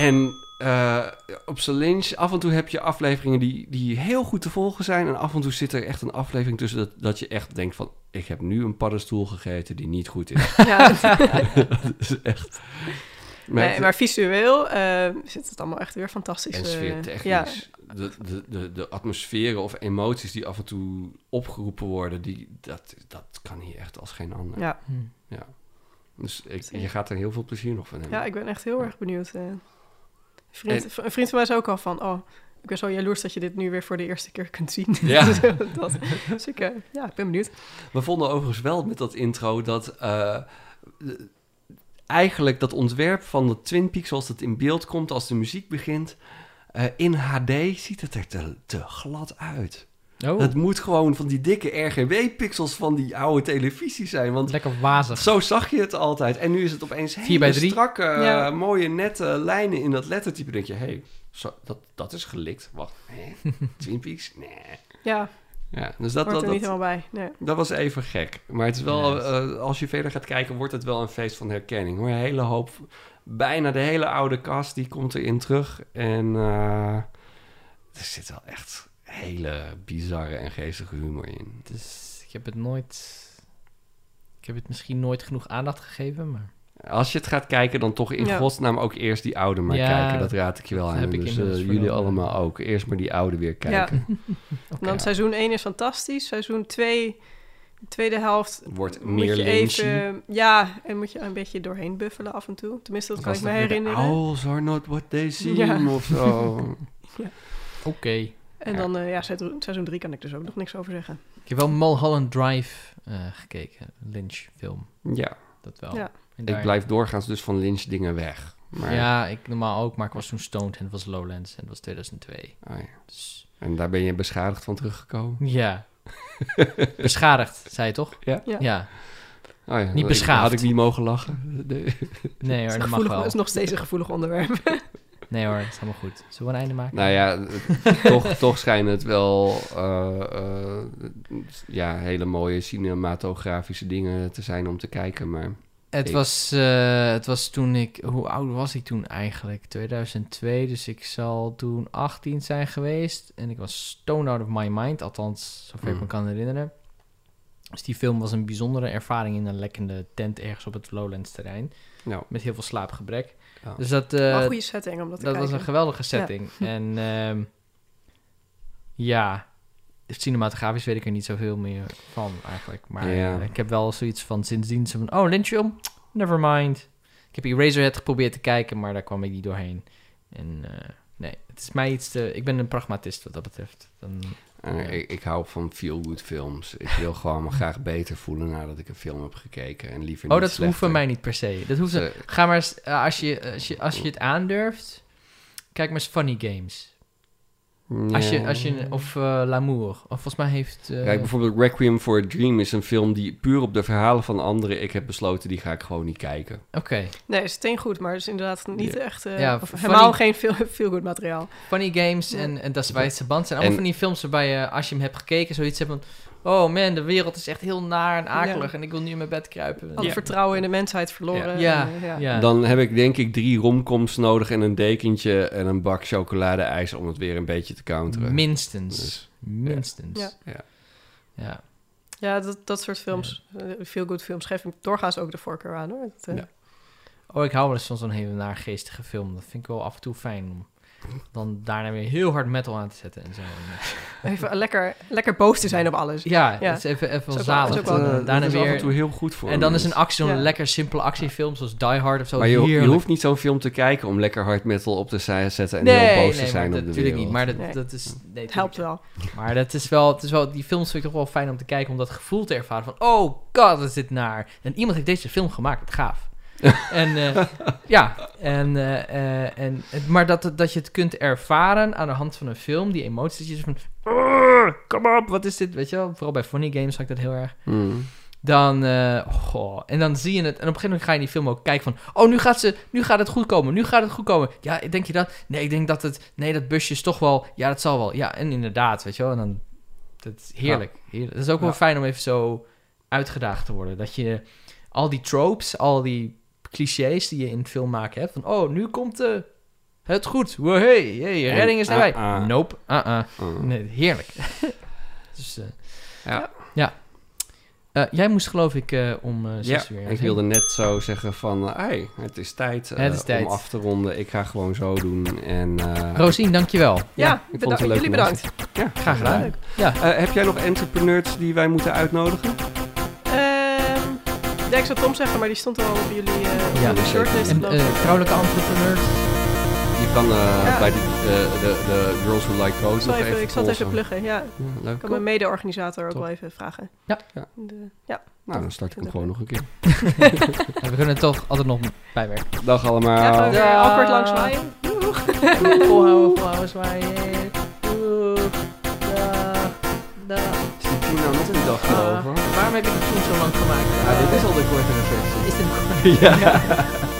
Speaker 1: en eh, op zijn lynch, af en toe heb je afleveringen die, die heel goed te volgen zijn. En af en toe zit er echt een aflevering tussen dat, dat je echt denkt van... ik
Speaker 3: <laughs>
Speaker 1: <laughs> heb nu een paddenstoel gegeten die niet goed is.
Speaker 3: Ja.
Speaker 1: dat is echt...
Speaker 3: Maar,
Speaker 1: het-
Speaker 3: maar visueel eh, zit het allemaal echt weer fantastisch.
Speaker 1: en
Speaker 3: eh,
Speaker 1: sfeertechnisch.
Speaker 3: ja.
Speaker 1: De, de, de, de atmosferen of emoties die af en toe opgeroepen worden, die, dat, dat kan hier echt als geen ander.
Speaker 3: Ja.
Speaker 2: Hm.
Speaker 1: Dus ik- je gaat er heel veel plezier nog van hebben.
Speaker 3: ja, ik ben echt heel
Speaker 1: Ja.
Speaker 3: erg benieuwd. eh. Een vriend, een vriend van mij zei ook al van, oh, ik ben zo jaloers dat je dit nu weer voor de eerste keer kunt zien.
Speaker 1: Ja.
Speaker 3: <laughs> dat, dus ik, eh, ja, ik ben benieuwd.
Speaker 1: We vonden overigens wel met dat intro dat eh, de- eigenlijk dat ontwerp van de Twin Peaks zoals dat in beeld komt als de muziek begint, eh, in HD ziet het er te, te glad uit.
Speaker 2: Oh,
Speaker 1: Het moet gewoon van die dikke RGB-pixels van die oude televisie zijn, want
Speaker 2: lekker wazig.
Speaker 1: zo zag je het altijd. En nu is het opeens
Speaker 2: Vier bij
Speaker 1: hele
Speaker 2: drie.
Speaker 1: strakke,
Speaker 3: Ja.
Speaker 1: eh, mooie, nette lijnen in dat lettertype. Dan denk je, hé, hey, zo- dat, dat is gelikt. Wacht, hè?
Speaker 2: <laughs>
Speaker 1: Twin Peaks? Nee.
Speaker 3: Ja,
Speaker 1: Ja, dus dat,
Speaker 3: hoort
Speaker 1: dat,
Speaker 3: er
Speaker 1: dat,
Speaker 3: niet helemaal bij. Nee.
Speaker 1: dat was even gek. Maar het is wel,
Speaker 2: Nice.
Speaker 1: eh, als je verder gaat kijken, wordt het wel een feest van herkenning. Hoor. Een hele hoop, bijna de hele oude cast, die komt erin terug. En eh, er zit wel echt hele bizarre en geestige humor in.
Speaker 2: Dus ik heb het nooit... Ik heb het misschien nooit genoeg aandacht gegeven, maar...
Speaker 1: Als je het gaat kijken, dan toch in
Speaker 3: Ja.
Speaker 1: godsnaam ook eerst die oude maar
Speaker 2: Ja,
Speaker 1: kijken. Dat raad ik je wel
Speaker 2: dat
Speaker 1: aan.
Speaker 2: heb ik
Speaker 1: dus
Speaker 2: inmiddels
Speaker 1: eh, jullie
Speaker 2: vernomen.
Speaker 1: allemaal ook. Eerst maar die oude weer kijken.
Speaker 3: En dan seizoen 1 is fantastisch. Seizoen 2, de tweede helft...
Speaker 1: Wordt
Speaker 3: moet
Speaker 1: meer
Speaker 3: je
Speaker 1: lynchy.
Speaker 3: even, Ja, en moet je een beetje doorheen buffelen af en toe. Tenminste, dat kan
Speaker 1: Was
Speaker 3: ik me
Speaker 1: weer de
Speaker 3: herinneren.
Speaker 1: Owls are not what they seem
Speaker 3: Ja.
Speaker 1: of
Speaker 3: <laughs>
Speaker 1: zo.
Speaker 2: Oké.
Speaker 3: En
Speaker 1: Ja.
Speaker 3: dan, eh, ja, seizoen seizoen 3 kan ik dus ook nog niks over zeggen.
Speaker 2: Ik heb wel Mulholland Drive eh, gekeken. Lynch film.
Speaker 1: ja,
Speaker 2: Dat wel.
Speaker 3: Ja.
Speaker 2: En
Speaker 1: ik
Speaker 2: daar-
Speaker 1: blijf doorgaans dus van Lynch dingen weg. Maar,
Speaker 2: Ja, ik normaal ook, maar ik was toen stoned en het was Lowlands en het was 2002.
Speaker 1: oh ja.
Speaker 2: Dus
Speaker 1: En daar ben je beschadigd van teruggekomen? <laughs>
Speaker 2: ja. Beschadigd, zei je toch?
Speaker 1: Ja?
Speaker 3: Ja.
Speaker 2: Ja.
Speaker 1: Oh ja,
Speaker 2: Niet
Speaker 1: ik-
Speaker 2: beschaafd.
Speaker 1: Had ik niet mogen lachen? Nee.
Speaker 2: Nee hoor, dat
Speaker 3: Het is,
Speaker 2: mag
Speaker 3: gevoelig- het
Speaker 2: wel.
Speaker 3: is nog steeds een gevoelig onderwerp.
Speaker 2: Nee hoor, het is helemaal goed. Zullen we een einde maken?
Speaker 1: Nou
Speaker 2: <laughs>
Speaker 1: ja, het- toch, toch schijnen het wel eh, eh, ja, hele mooie cinematografische dingen te zijn om te kijken. Maar
Speaker 2: Het
Speaker 1: Ik-
Speaker 2: was, eh, het was toen ik... Hoe oud was ik toen eigenlijk? 2002, dus ik zal toen 18 zijn geweest. En ik was stoned out of my mind, althans, zover ik
Speaker 1: Mm.
Speaker 2: me kan herinneren. Dus die film was een bijzondere ervaring in een lekkende tent ergens op het Lowlands terrein.
Speaker 1: Nou.
Speaker 2: Met heel veel slaapgebrek.
Speaker 1: Ja.
Speaker 2: Dus dat, eh,
Speaker 3: Maar een goede setting om dat te
Speaker 2: dat was
Speaker 3: kijken.
Speaker 2: een geweldige
Speaker 3: <laughs>
Speaker 2: setting. En ehm, ja, cinematografisch weet ik er niet zoveel meer van eigenlijk. Maar
Speaker 1: Ja.
Speaker 2: eh, ik heb wel zoiets van sindsdien zo van, oh, Lynchfilm, never mind. Ik heb Eraserhead geprobeerd te kijken, maar daar kwam ik niet doorheen. En eh, nee, het is mij iets te... Ik ben een pragmatist wat dat betreft. Dan,
Speaker 1: eh,
Speaker 2: Ja.
Speaker 1: ik, ik hou van feel-good films. Ik wil gewoon
Speaker 2: <laughs>
Speaker 1: me graag beter voelen nadat ik een film heb gekeken. En liever niet
Speaker 2: oh, dat hoeft
Speaker 1: slechter.
Speaker 2: van mij niet per se. Dat hoeft
Speaker 1: Dus, eh,
Speaker 2: Ga maar eens, eh, als je, als, je, als je het aandurft, kijk maar eens Funny Games. Als je, als je, of eh, L'amour. Of volgens mij heeft... eh,
Speaker 1: Kijk, bijvoorbeeld Requiem for a Dream is een film die puur op de verhalen van anderen... ik heb besloten, die ga ik gewoon niet kijken.
Speaker 2: Oké.
Speaker 3: Nee, het is steengoed, maar het is inderdaad niet
Speaker 1: Ja.
Speaker 3: echt... eh,
Speaker 2: Ja,
Speaker 3: of
Speaker 2: funny-
Speaker 3: helemaal geen veel, <laughs> veel goed materiaal.
Speaker 2: Funny Games en, en Das Weiße Band zijn allemaal
Speaker 1: En-
Speaker 2: van die films waarbij je, als je hem hebt gekeken, zoiets hebt van... Oh man, de wereld is echt heel naar en akelig en ik wil nu in mijn bed kruipen.
Speaker 3: Alle vertrouwen in de mensheid verloren.
Speaker 2: Ja.
Speaker 3: En, eh, ja.
Speaker 2: Ja.
Speaker 1: Dan heb ik denk ik drie romcoms nodig en een dekentje en een bak chocoladeijs... om het weer een beetje te counteren.
Speaker 2: Minstens.
Speaker 1: Dus,
Speaker 2: Minstens.
Speaker 3: Ja.
Speaker 1: Ja.
Speaker 2: Ja.
Speaker 3: Ja, dat, dat soort films, veel good films, geef ik doorgaans ook de voorkeur aan. Hoor. Het, eh,
Speaker 1: Ja.
Speaker 2: Oh, ik hou wel eens van zo'n hele naargeestige film. Dat vind ik wel af en toe fijn om dan daarna weer heel hard metal aan te zetten en zo.
Speaker 3: Even lekker, lekker boos te zijn op alles.
Speaker 2: Ja,
Speaker 3: Ja.
Speaker 2: het is even, even
Speaker 3: Is ook wel-
Speaker 2: zalig.
Speaker 3: is ook
Speaker 1: dat,
Speaker 3: wel-
Speaker 1: eh,
Speaker 2: En
Speaker 1: dat
Speaker 2: daarna
Speaker 1: is af en toe
Speaker 2: weer...
Speaker 1: heel goed voor
Speaker 2: En dan is
Speaker 1: mensen.
Speaker 2: een actie, zo'n
Speaker 3: Ja.
Speaker 2: lekker simpele actiefilm zoals Die Hard of zo.
Speaker 1: Maar je, je
Speaker 2: heerlijk.
Speaker 1: hoeft niet zo'n film te kijken om lekker hard metal op te zij- zetten en
Speaker 2: nee,
Speaker 1: heel boos
Speaker 2: nee,
Speaker 1: te zijn
Speaker 2: maar
Speaker 1: op de
Speaker 2: dat-
Speaker 1: wereld.
Speaker 2: natuurlijk niet. Maar dat,
Speaker 3: Nee.
Speaker 2: dat is... Nee,
Speaker 3: Het helpt wel.
Speaker 2: Maar dat is wel, het is wel, die films vind ik toch wel fijn om te kijken, om dat gevoel te ervaren van, oh god, wat is dit naar. En iemand heeft deze film gemaakt, wat
Speaker 1: <laughs>
Speaker 2: gaaf. en eh, ja, en, eh, eh, en, het- maar dat, dat je het kunt ervaren aan de hand van een film, die emoties, dat je zo van, "Urgh, kom op, wat is dit, weet je wel. Vooral bij funny games zag ik dat heel erg.
Speaker 1: Hmm.
Speaker 2: Dan, eh, goh, en dan zie je het. En op een gegeven moment ga je die film ook kijken van... Oh, nu gaat, ze, nu gaat het goed komen. Nu gaat het goed komen. Ja, denk je dat? Nee, ik denk dat het... Nee, dat busje is toch wel... Ja, dat zal wel. Ja, en inderdaad, weet je wel. En dan... Dat is heerlijk. heerlijk. Het is ook wel
Speaker 1: Ja.
Speaker 2: fijn om even zo uitgedaagd te worden. Dat je al die tropes, al die clichés die je in film maken hebt... Van, oh, nu komt eh, het goed. Wow, hey, hey,
Speaker 1: En,
Speaker 2: redding is
Speaker 1: ah,
Speaker 2: nabij.
Speaker 1: ah.
Speaker 2: Nope, ah, ah.
Speaker 1: Oh. <laughs>
Speaker 2: Nee, heerlijk. dus, eh,
Speaker 1: Ja.
Speaker 2: ja. Eh, jij moest geloof ik eh, om eh zes uur.
Speaker 1: Ja, ik wilde net zo zeggen van, eh, hey, het is tijd, eh,
Speaker 2: Het is tijd.
Speaker 1: om af te ronden. Ik ga gewoon zo doen. En, eh,
Speaker 2: Rosien, dankjewel.
Speaker 1: Ja,
Speaker 3: Ja,
Speaker 1: ik vond
Speaker 3: beda-
Speaker 1: het een leuke
Speaker 3: jullie bedankt.
Speaker 1: ja, graag gedaan.
Speaker 3: Leuk.
Speaker 2: Ja,
Speaker 1: Eh, heb jij nog entrepreneurs die wij moeten uitnodigen?
Speaker 3: Ehm, ja, ik zou Tom zeggen, maar die stond al op jullie, eh,
Speaker 2: Ja,
Speaker 3: op jullie
Speaker 1: zeker.
Speaker 3: shortlist.
Speaker 2: en,
Speaker 3: geloof ik.
Speaker 2: eh, vrouwelijke entrepreneurs.
Speaker 1: Je kan eh,
Speaker 3: Ja.
Speaker 1: bij de, eh, de, de Girls Who Like Code
Speaker 3: ik, zal
Speaker 1: nog
Speaker 3: even,
Speaker 1: even
Speaker 3: ik zal het even
Speaker 1: polsen.
Speaker 3: pluggen. Ja, ik
Speaker 1: Ja, leuk.
Speaker 3: kan mijn mede-organisator ook
Speaker 2: Top.
Speaker 3: wel even vragen.
Speaker 2: Ja.
Speaker 1: Ja.
Speaker 3: De- ja.
Speaker 1: Nou, dan start ik hem
Speaker 3: Leuk.
Speaker 1: gewoon nog een keer.
Speaker 2: Ja, we kunnen het toch altijd nog <laughs> bijwerken.
Speaker 1: Dag
Speaker 3: Ja,
Speaker 1: allemaal.
Speaker 3: gewoon weer
Speaker 2: Ja.
Speaker 3: awkward langs zwaaien.
Speaker 2: Volhouden, volhouden, zwaaien. Doeg. Dag. Dag.
Speaker 1: Is die Pino nog nou een dag
Speaker 2: Ah,
Speaker 3: Oh.
Speaker 1: erover?
Speaker 2: waarom heb ik het toen zo lang gemaakt?
Speaker 1: <laughs> Ja, dit is al de korte reflectie.
Speaker 2: Is dit
Speaker 1: Ja.